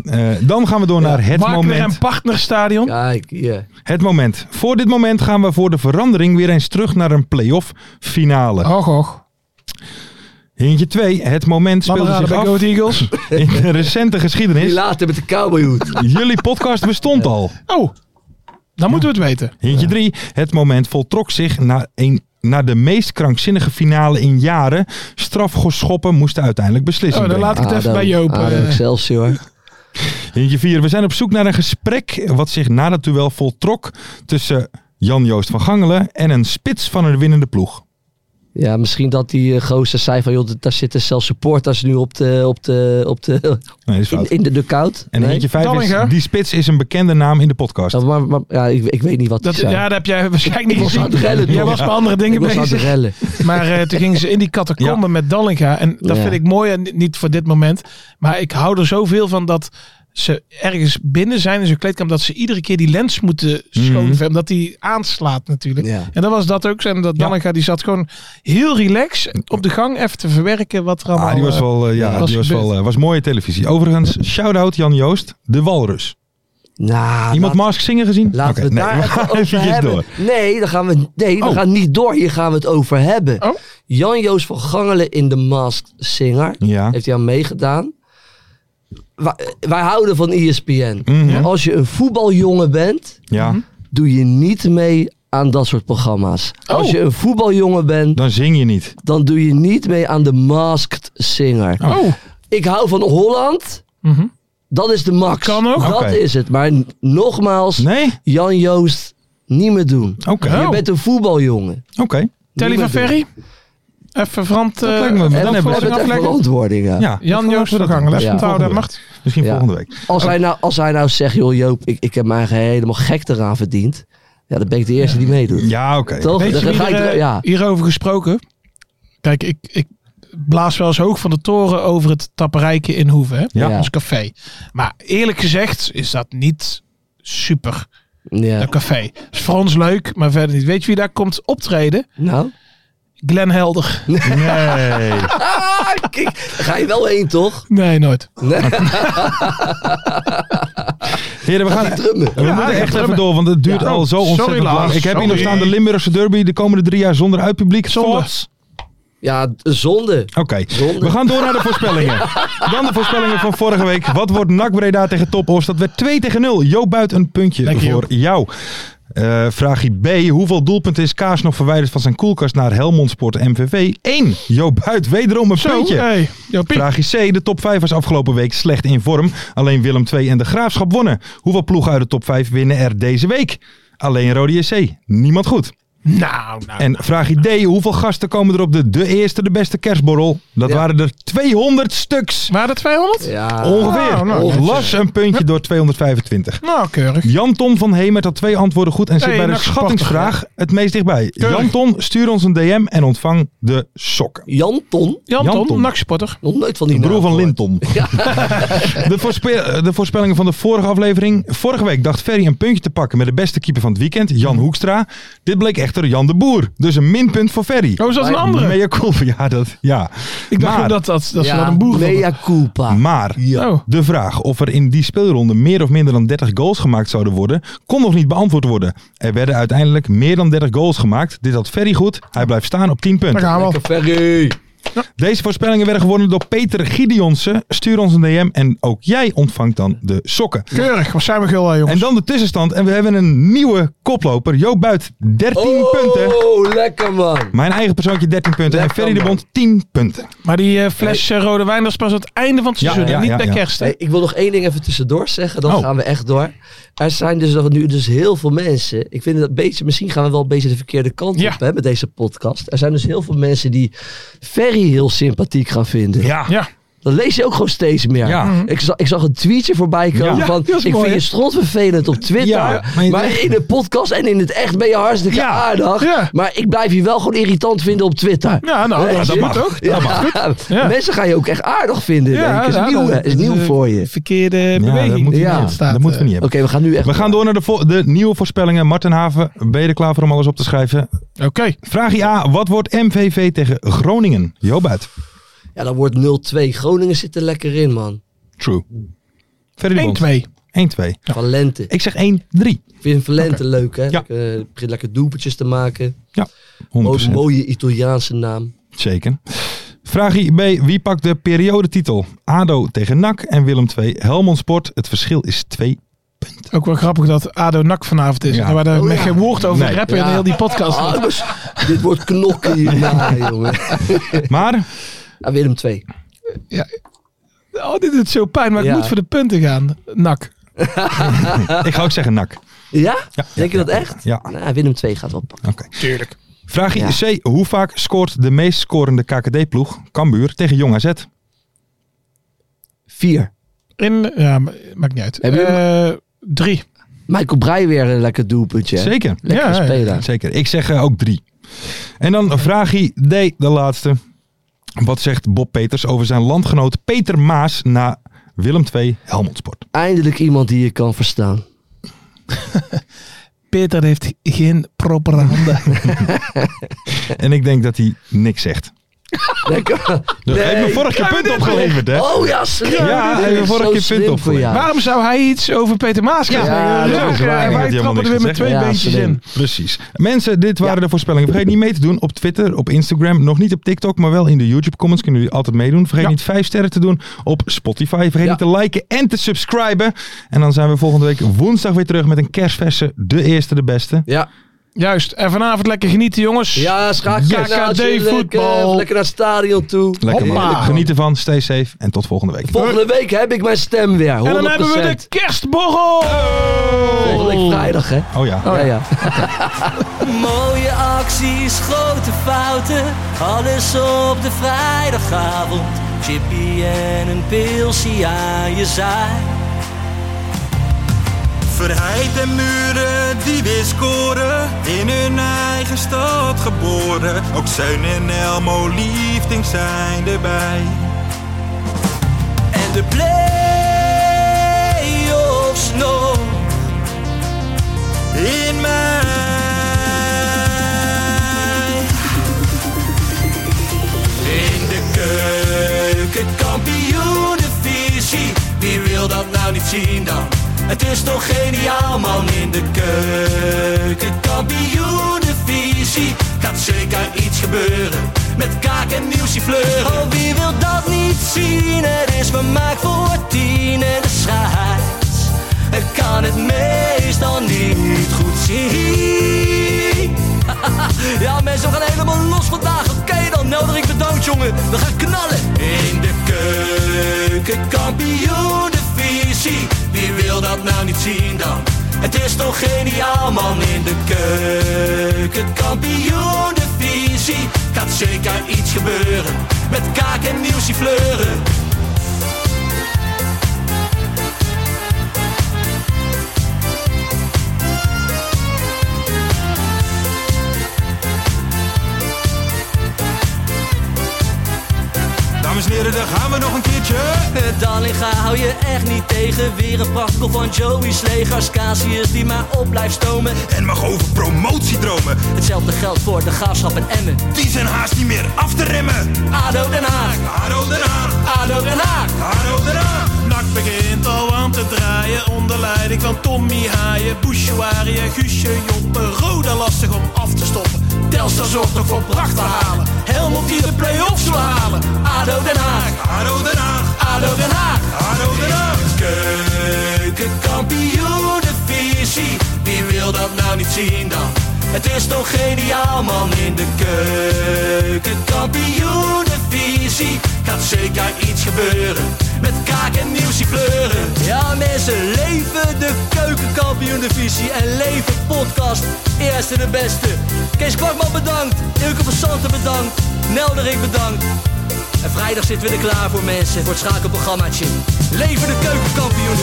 Eh, dan gaan we door naar het Wagner en moment. Partner Stadion. Kijk, hier. Het moment. Voor dit moment gaan we voor de verandering weer eens terug naar een play-off finale. Och, och. Hintje 2. Het moment Mannen speelde zich bij af Go Ahead Eagles. in de [laughs] recente Die geschiedenis. later met de cowboyhoed. Jullie podcast bestond al. Oh, dan moeten we het weten. Hintje 3. Het moment voltrok zich na, een, na de meest krankzinnige finale in jaren. Strafgeschoppen moesten uiteindelijk beslissen. Oh, dan brengen. laat ik Ah, het even bij Joop. Ado eh. Excelsior. Hintje 4. We zijn op zoek naar een gesprek wat zich na dat duel voltrok tussen Jan-Joost van Gangelen en een spits van een winnende ploeg. Ja, misschien dat die eh, gozer zei van, joh, daar zitten zelfs supporters nu op de, op de, op de, Nee, dat is in, fout. in de dugout. En Nee. eentje vijf Dallinger. is, die spits is een bekende naam in de podcast. Ja, maar, maar- ja, ik, ik weet niet wat Dat, die zei. ja, dat heb jij waarschijnlijk Ik niet was aan gezien. het rellen, Jij toch? was met andere dingen ik was aan de bezig. rellen. Maar eh, toen gingen ze in die catacombe met Dallinga. En dat Ja. vind ik mooi. En niet- niet voor dit moment. Maar ik hou er zoveel van dat ze ergens binnen zijn in zo'n kleedkamer. Dat ze iedere keer die lens moeten Mhm. schoonvegen. Omdat die aanslaat natuurlijk. Ja. En dat was dat ook. zo. En dat Dallinga die zat gewoon heel relaxed op de gang. Even te verwerken wat er allemaal... Ah, die was eh, wel, eh, ja, was die was, gebeurd. wel eh, was mooie televisie. Overigens, shout-out Jan Joost, de Walrus. Nou, Iemand laat- Mask zingen gezien? Laten Oké, we het nee, [laughs] daar we even gaan over eventjes hebben. door. Nee, dan gaan we, nee we Oh. gaan niet door. Hier gaan we het over hebben. Oh. Jan-Joos van Gangelen in The Masked Singer. Ja. Heeft hij aan meegedaan. Wij, wij houden van E ESPN. Mhm. Maar Als je een voetbaljongen bent, Ja, doe je niet mee aan dat soort programma's. Als Oh. je een voetbaljongen bent, dan zing je niet. dan doe je niet mee aan The Masked Singer. Nou, Oh, Ik hou van Holland. Mhm. Dat is de max. Kan ook. Dat Oké. is het. Maar n- nogmaals, Nee? Jan Joost, niet meer doen. Oké. Oh. Je bent een voetbaljongen. Oké. Telly van meer doen. Ferry. Even Frant... eh, lijkt me- dan even hebben we- we voorzien hebben het echt afleggen. verantwoording aan. Ja, Jan dan Joost we dat van Gangelen. doen. Even Ja. onthouden. Volgende Macht. week. Misschien Ja. volgende week. Als, Oh. hij nou, als hij nou zegt, joh Joop, ik, ik heb mij helemaal gek eraan verdiend. Ja, dan ben ik de eerste die meedoet. Ja, oké. Toch? Weet Dan je wie ga ik er, er- eh, ja. hierover gesproken? Kijk, ik, ik blaas wel eens hoog van de toren over het tapperijke in Hoeve, hè? Ja. ons café. Maar eerlijk gezegd is dat niet super, Ja. dat café. is voor ons leuk, maar verder niet. Weet je wie daar komt optreden? Nou. Glenn [laughs] Helder. Nee. Ah, kijk, daar ga je wel heen, toch? [laughs] Nee, nooit. Heren, we gaan... Drummen. We moeten echt even door, want het duurt Ja. al zo Sorry, ontzettend lang. Lars, Ik heb hier nog sorry. staan de Limburgse derby de komende drie jaar zonder uitpubliek. Zonde. Thoughts? Ja, d- zonde. Oké, Zonde. we gaan door naar de voorspellingen. Dan de voorspellingen van vorige week. Wat wordt NAC Breda tegen Top Os? Dat werd 2 tegen 0. Jo Buit, een puntje Dankjewel. voor jou. Eh vraagje B. Hoeveel doelpunten is Kaas nog verwijderd van zijn koelkast naar Helmond Sport MVV? 1. Jo Buit, wederom een Zo, eh, puntje. hey, Jopie. Vraagje C. De top 5 was afgelopen week slecht in vorm. Alleen Willem II en de Graafschap wonnen. Hoeveel ploegen uit de top 5 winnen er deze week? Alleen Rode JC. Niemand goed. Nou, nou. En vraagje D. Hoeveel gasten komen er op de de eerste de beste kerstborrel? Dat Ja. waren er 200 stuks. Waren er 200? Ja. Ongeveer. nou, Ongeveer. Las een puntje door 225. Nou, keurig. Jan Tom van Hemert had twee antwoorden goed en zit Hey, bij de nou, schattingsvraag het meest dichtbij. Keurig. Jan Tom, stuur ons een DM en ontvang de sokken. Janton? Janton, Janton. nachtsporter. Nog nooit van De die Nou, broer naam van gehoord. [laughs] Linton. De, voorspe- de voorspellingen van de vorige aflevering. Vorige week dacht Ferry een puntje te pakken met de beste keeper van het weekend, Jan Hoekstra. Dit bleek echter Jan de Boer. Dus een minpunt voor Ferry. Oh, is dat een andere? Mea culpa. Ja, dat, ja. Ik dacht Maar- ook dat, dat, dat ze Ja, dat een boer vonden. Mea culpa. Maar Oh. de vraag of er in die speelronde meer of minder dan 30 goals gemaakt zouden worden, kon nog niet beantwoord worden. Er werden uiteindelijk meer dan 30 goals gemaakt. Dit had Ferry goed. Hij blijft staan op 10 Daar punten. gaan we al. Ferry. Deze voorspellingen werden gewonnen door Peter Gideonsen. Stuur ons een DM en ook jij ontvangt dan de sokken. Keurig, wat zijn we gul, hè, jongens. En dan de tussenstand. En we hebben een nieuwe koploper. Joop Buit, 13 Oh, punten. lekker man. Mijn eigen persoontje 13 punten. En Lekker, Ferry de man. Bond 10 punten. Maar die eh, fles eh, rode wijn, dat is pas aan het einde van het Ja, seizoen. ja, niet ja, bij ja. kerst. hè? Hey, ik wil nog één ding even tussendoor zeggen, dan Oh. gaan we echt door. Er zijn dus nog nu dus heel veel mensen. Ik vind dat een beetje, misschien gaan we wel een beetje de verkeerde kant Ja. op hè, met deze podcast. Er zijn dus heel veel mensen die Ferry heel sympathiek gaan vinden. Ja. Dat lees je ook gewoon steeds meer. Ja. Ik, zag, ik zag een tweetje voorbij komen Ja. van, Ja, Mhm. dat ik is mooi, vind hè? je strotvervelend op Twitter, Ja, maar maar, je- in de podcast en in het echt ben je hartstikke Ja. aardig. Ja. Maar ik blijf je wel gewoon irritant vinden op Twitter. Ja, nou, dat, dat mag ook. Ja. [laughs] Ja. Mensen gaan je ook echt aardig vinden. Ja, denk ik. ja, is nieuw, dat- hè, is nieuw dat- voor je. Oké, Verkeerde Ja, dat beweging. moeten we, Ja. eh, niet- dat moeten we niet hebben. we gaan nu echt. We gaan door naar de, vo- de nieuwe voorspellingen. Martin Haven, ben je er klaar voor om alles op te schrijven? Oké. Vraag A. Wat wordt MVV tegen Groningen? Jobuit. Ja, dan wordt 0-2. Groningen zit er lekker in, man. True. Verder 1-2. 1-2. Valente. Ik zeg 1-3. Ik vind Valente leuk, hè? Ja. Lekker, eh, begint lekker doelpuntjes te maken. 100%. Mooie, mooie Italiaanse naam. Zeker. Vraag B. Wie pakt de periodetitel? ADO tegen NAC en Willem 2. Helmond Sport. Het verschil is 2. Ook wel grappig dat Ado Nak vanavond is. Ja. Waar we Oh, met ja. geen woord over Nee. rappen in Ja. heel die podcast. Ah, jongens, dit wordt knokken [laughs] hierna, jongen. Maar Ah, Willem 2. Oh, dit doet zo pijn, maar Ja. ik moet voor de punten gaan. Nak. ik ga ook zeggen NAC. Ja? Denk je dat echt? Ja, Nou, Willem 2 gaat wel pakken. oké. Tuurlijk. Vraagje Ja. C. Hoe vaak scoort de meest scorende KKD-ploeg, Cambuur, tegen Jong AZ? Vier. In, ja, ma- maakt niet uit. Hebben Eh, drie. Michael Breij weer een lekker doelpuntje. hè? Zeker. Lekkere Ja, ja, ja. speler. Zeker. Ik zeg eh, ook drie. En dan vraagje D, de laatste. Wat zegt Bob Peters over zijn landgenoot Peter Maas na Willem II Helmondsport? Eindelijk iemand die je kan verstaan. Peter heeft geen propere handen. [laughs] En ik denk dat hij niks zegt. Lekker. Dus hij heeft me vorige keer punt opgeleverd, hè? Oh ja, slim. Ja, Dit hij heeft is vorige zo keer slim punt voor opgeleverd. jou. Waarom zou hij iets over Peter Maas gaan Ja, zeggen? ja, dat is had en waar. Ik wij helemaal trappen er niks weer met gezegd. twee Ja, beentjes slim. in. Precies. Mensen, dit waren de voorspellingen. Vergeet niet mee te doen op Twitter, op Instagram, nog niet op TikTok, maar wel in de YouTube comments kunnen jullie altijd meedoen. Vergeet Ja. niet vijf sterren te doen op Spotify. Vergeet Ja. niet te liken en te subscriben. En dan zijn we volgende week woensdag weer terug met een kerstverse, de eerste, de beste. Ja, Juist. En vanavond lekker genieten, jongens. ja Yes. KKD schakelkaartje. voetbal. Lekker, lekker naar het stadion toe. Lekker Heerlijk. man. Geniet ervan, stay safe en tot volgende week. Volgende week heb ik mijn stem weer. 100%. En dan hebben we de kerstborrel. Volgende week vrijdag, hè? Oh ja. Oh ja. [laughs] Mooie acties, grote fouten, alles op de vrijdagavond. Chippy en een pilsie aan je zaai. Verheid en muren die weer scoren, in hun eigen stad geboren. Ook Zijn en Elmo Liefding zijn erbij. En de play-offs nog. In mij. In de keuken, kampioenenvisie. Wie wil dat nou niet zien dan? Het is toch geniaal man in de keuken, kampioenenvisie. Gaat zeker iets gebeuren met kaak en nieuwsie fleuren. Oh, wie wil dat niet zien? Het is vermaakt voor tien en de scheids. Ik kan het meestal niet goed zien. Ja, mensen, we gaan helemaal los vandaag. Oké, dan nodig ik bedankt, jongen. We gaan knallen. In de keuken, kampioenenvisie. Wie wil dat nou niet zien dan? Het is toch geniaal, man. In de keuken, kampioenenvisie. Gaat zeker iets gebeuren. Met kaak en nieuwsie fleuren. Dames en heren, daar gaan we nog een keertje. Eh, Dallinga hou je echt niet tegen. Weer een prachtkel van Joey's legers. Casius die maar op blijft stomen. En mag over promotiedromen, Hetzelfde geldt voor de graafschap en Emmen. die zijn haast niet meer af te remmen. ADO Den Haag, Haro Den Haag, ADO Den Haag. Haro Den Haag. Nak begint al aan te draaien onder leiding van Tommy Haaien, Bouchouari en Guusje Joppen. Roda lastig om af te stoppen. Telstar zorgt nog voor pracht te halen. Helmond die de play-offs wil halen. ADO Den Haag, Haro Den Haag, ADO Den Haag. Haro Den Haag. Keukenkampioenenvisie, wie wil dat nou niet zien dan? Het is toch geniaal man in de keukenkampioenenvisie. Gaat zeker iets gebeuren, met kaak en nieuwsie pleuren. Ja mensen, leven de keukenkampioenenvisie en leven podcast. Eerste de beste. Kees Kwakman bedankt, Ilke van Santen bedankt, Nelderik bedankt. En vrijdag zitten we er klaar voor mensen, voor het schakelprogrammaatje. Leven de keukenkampioen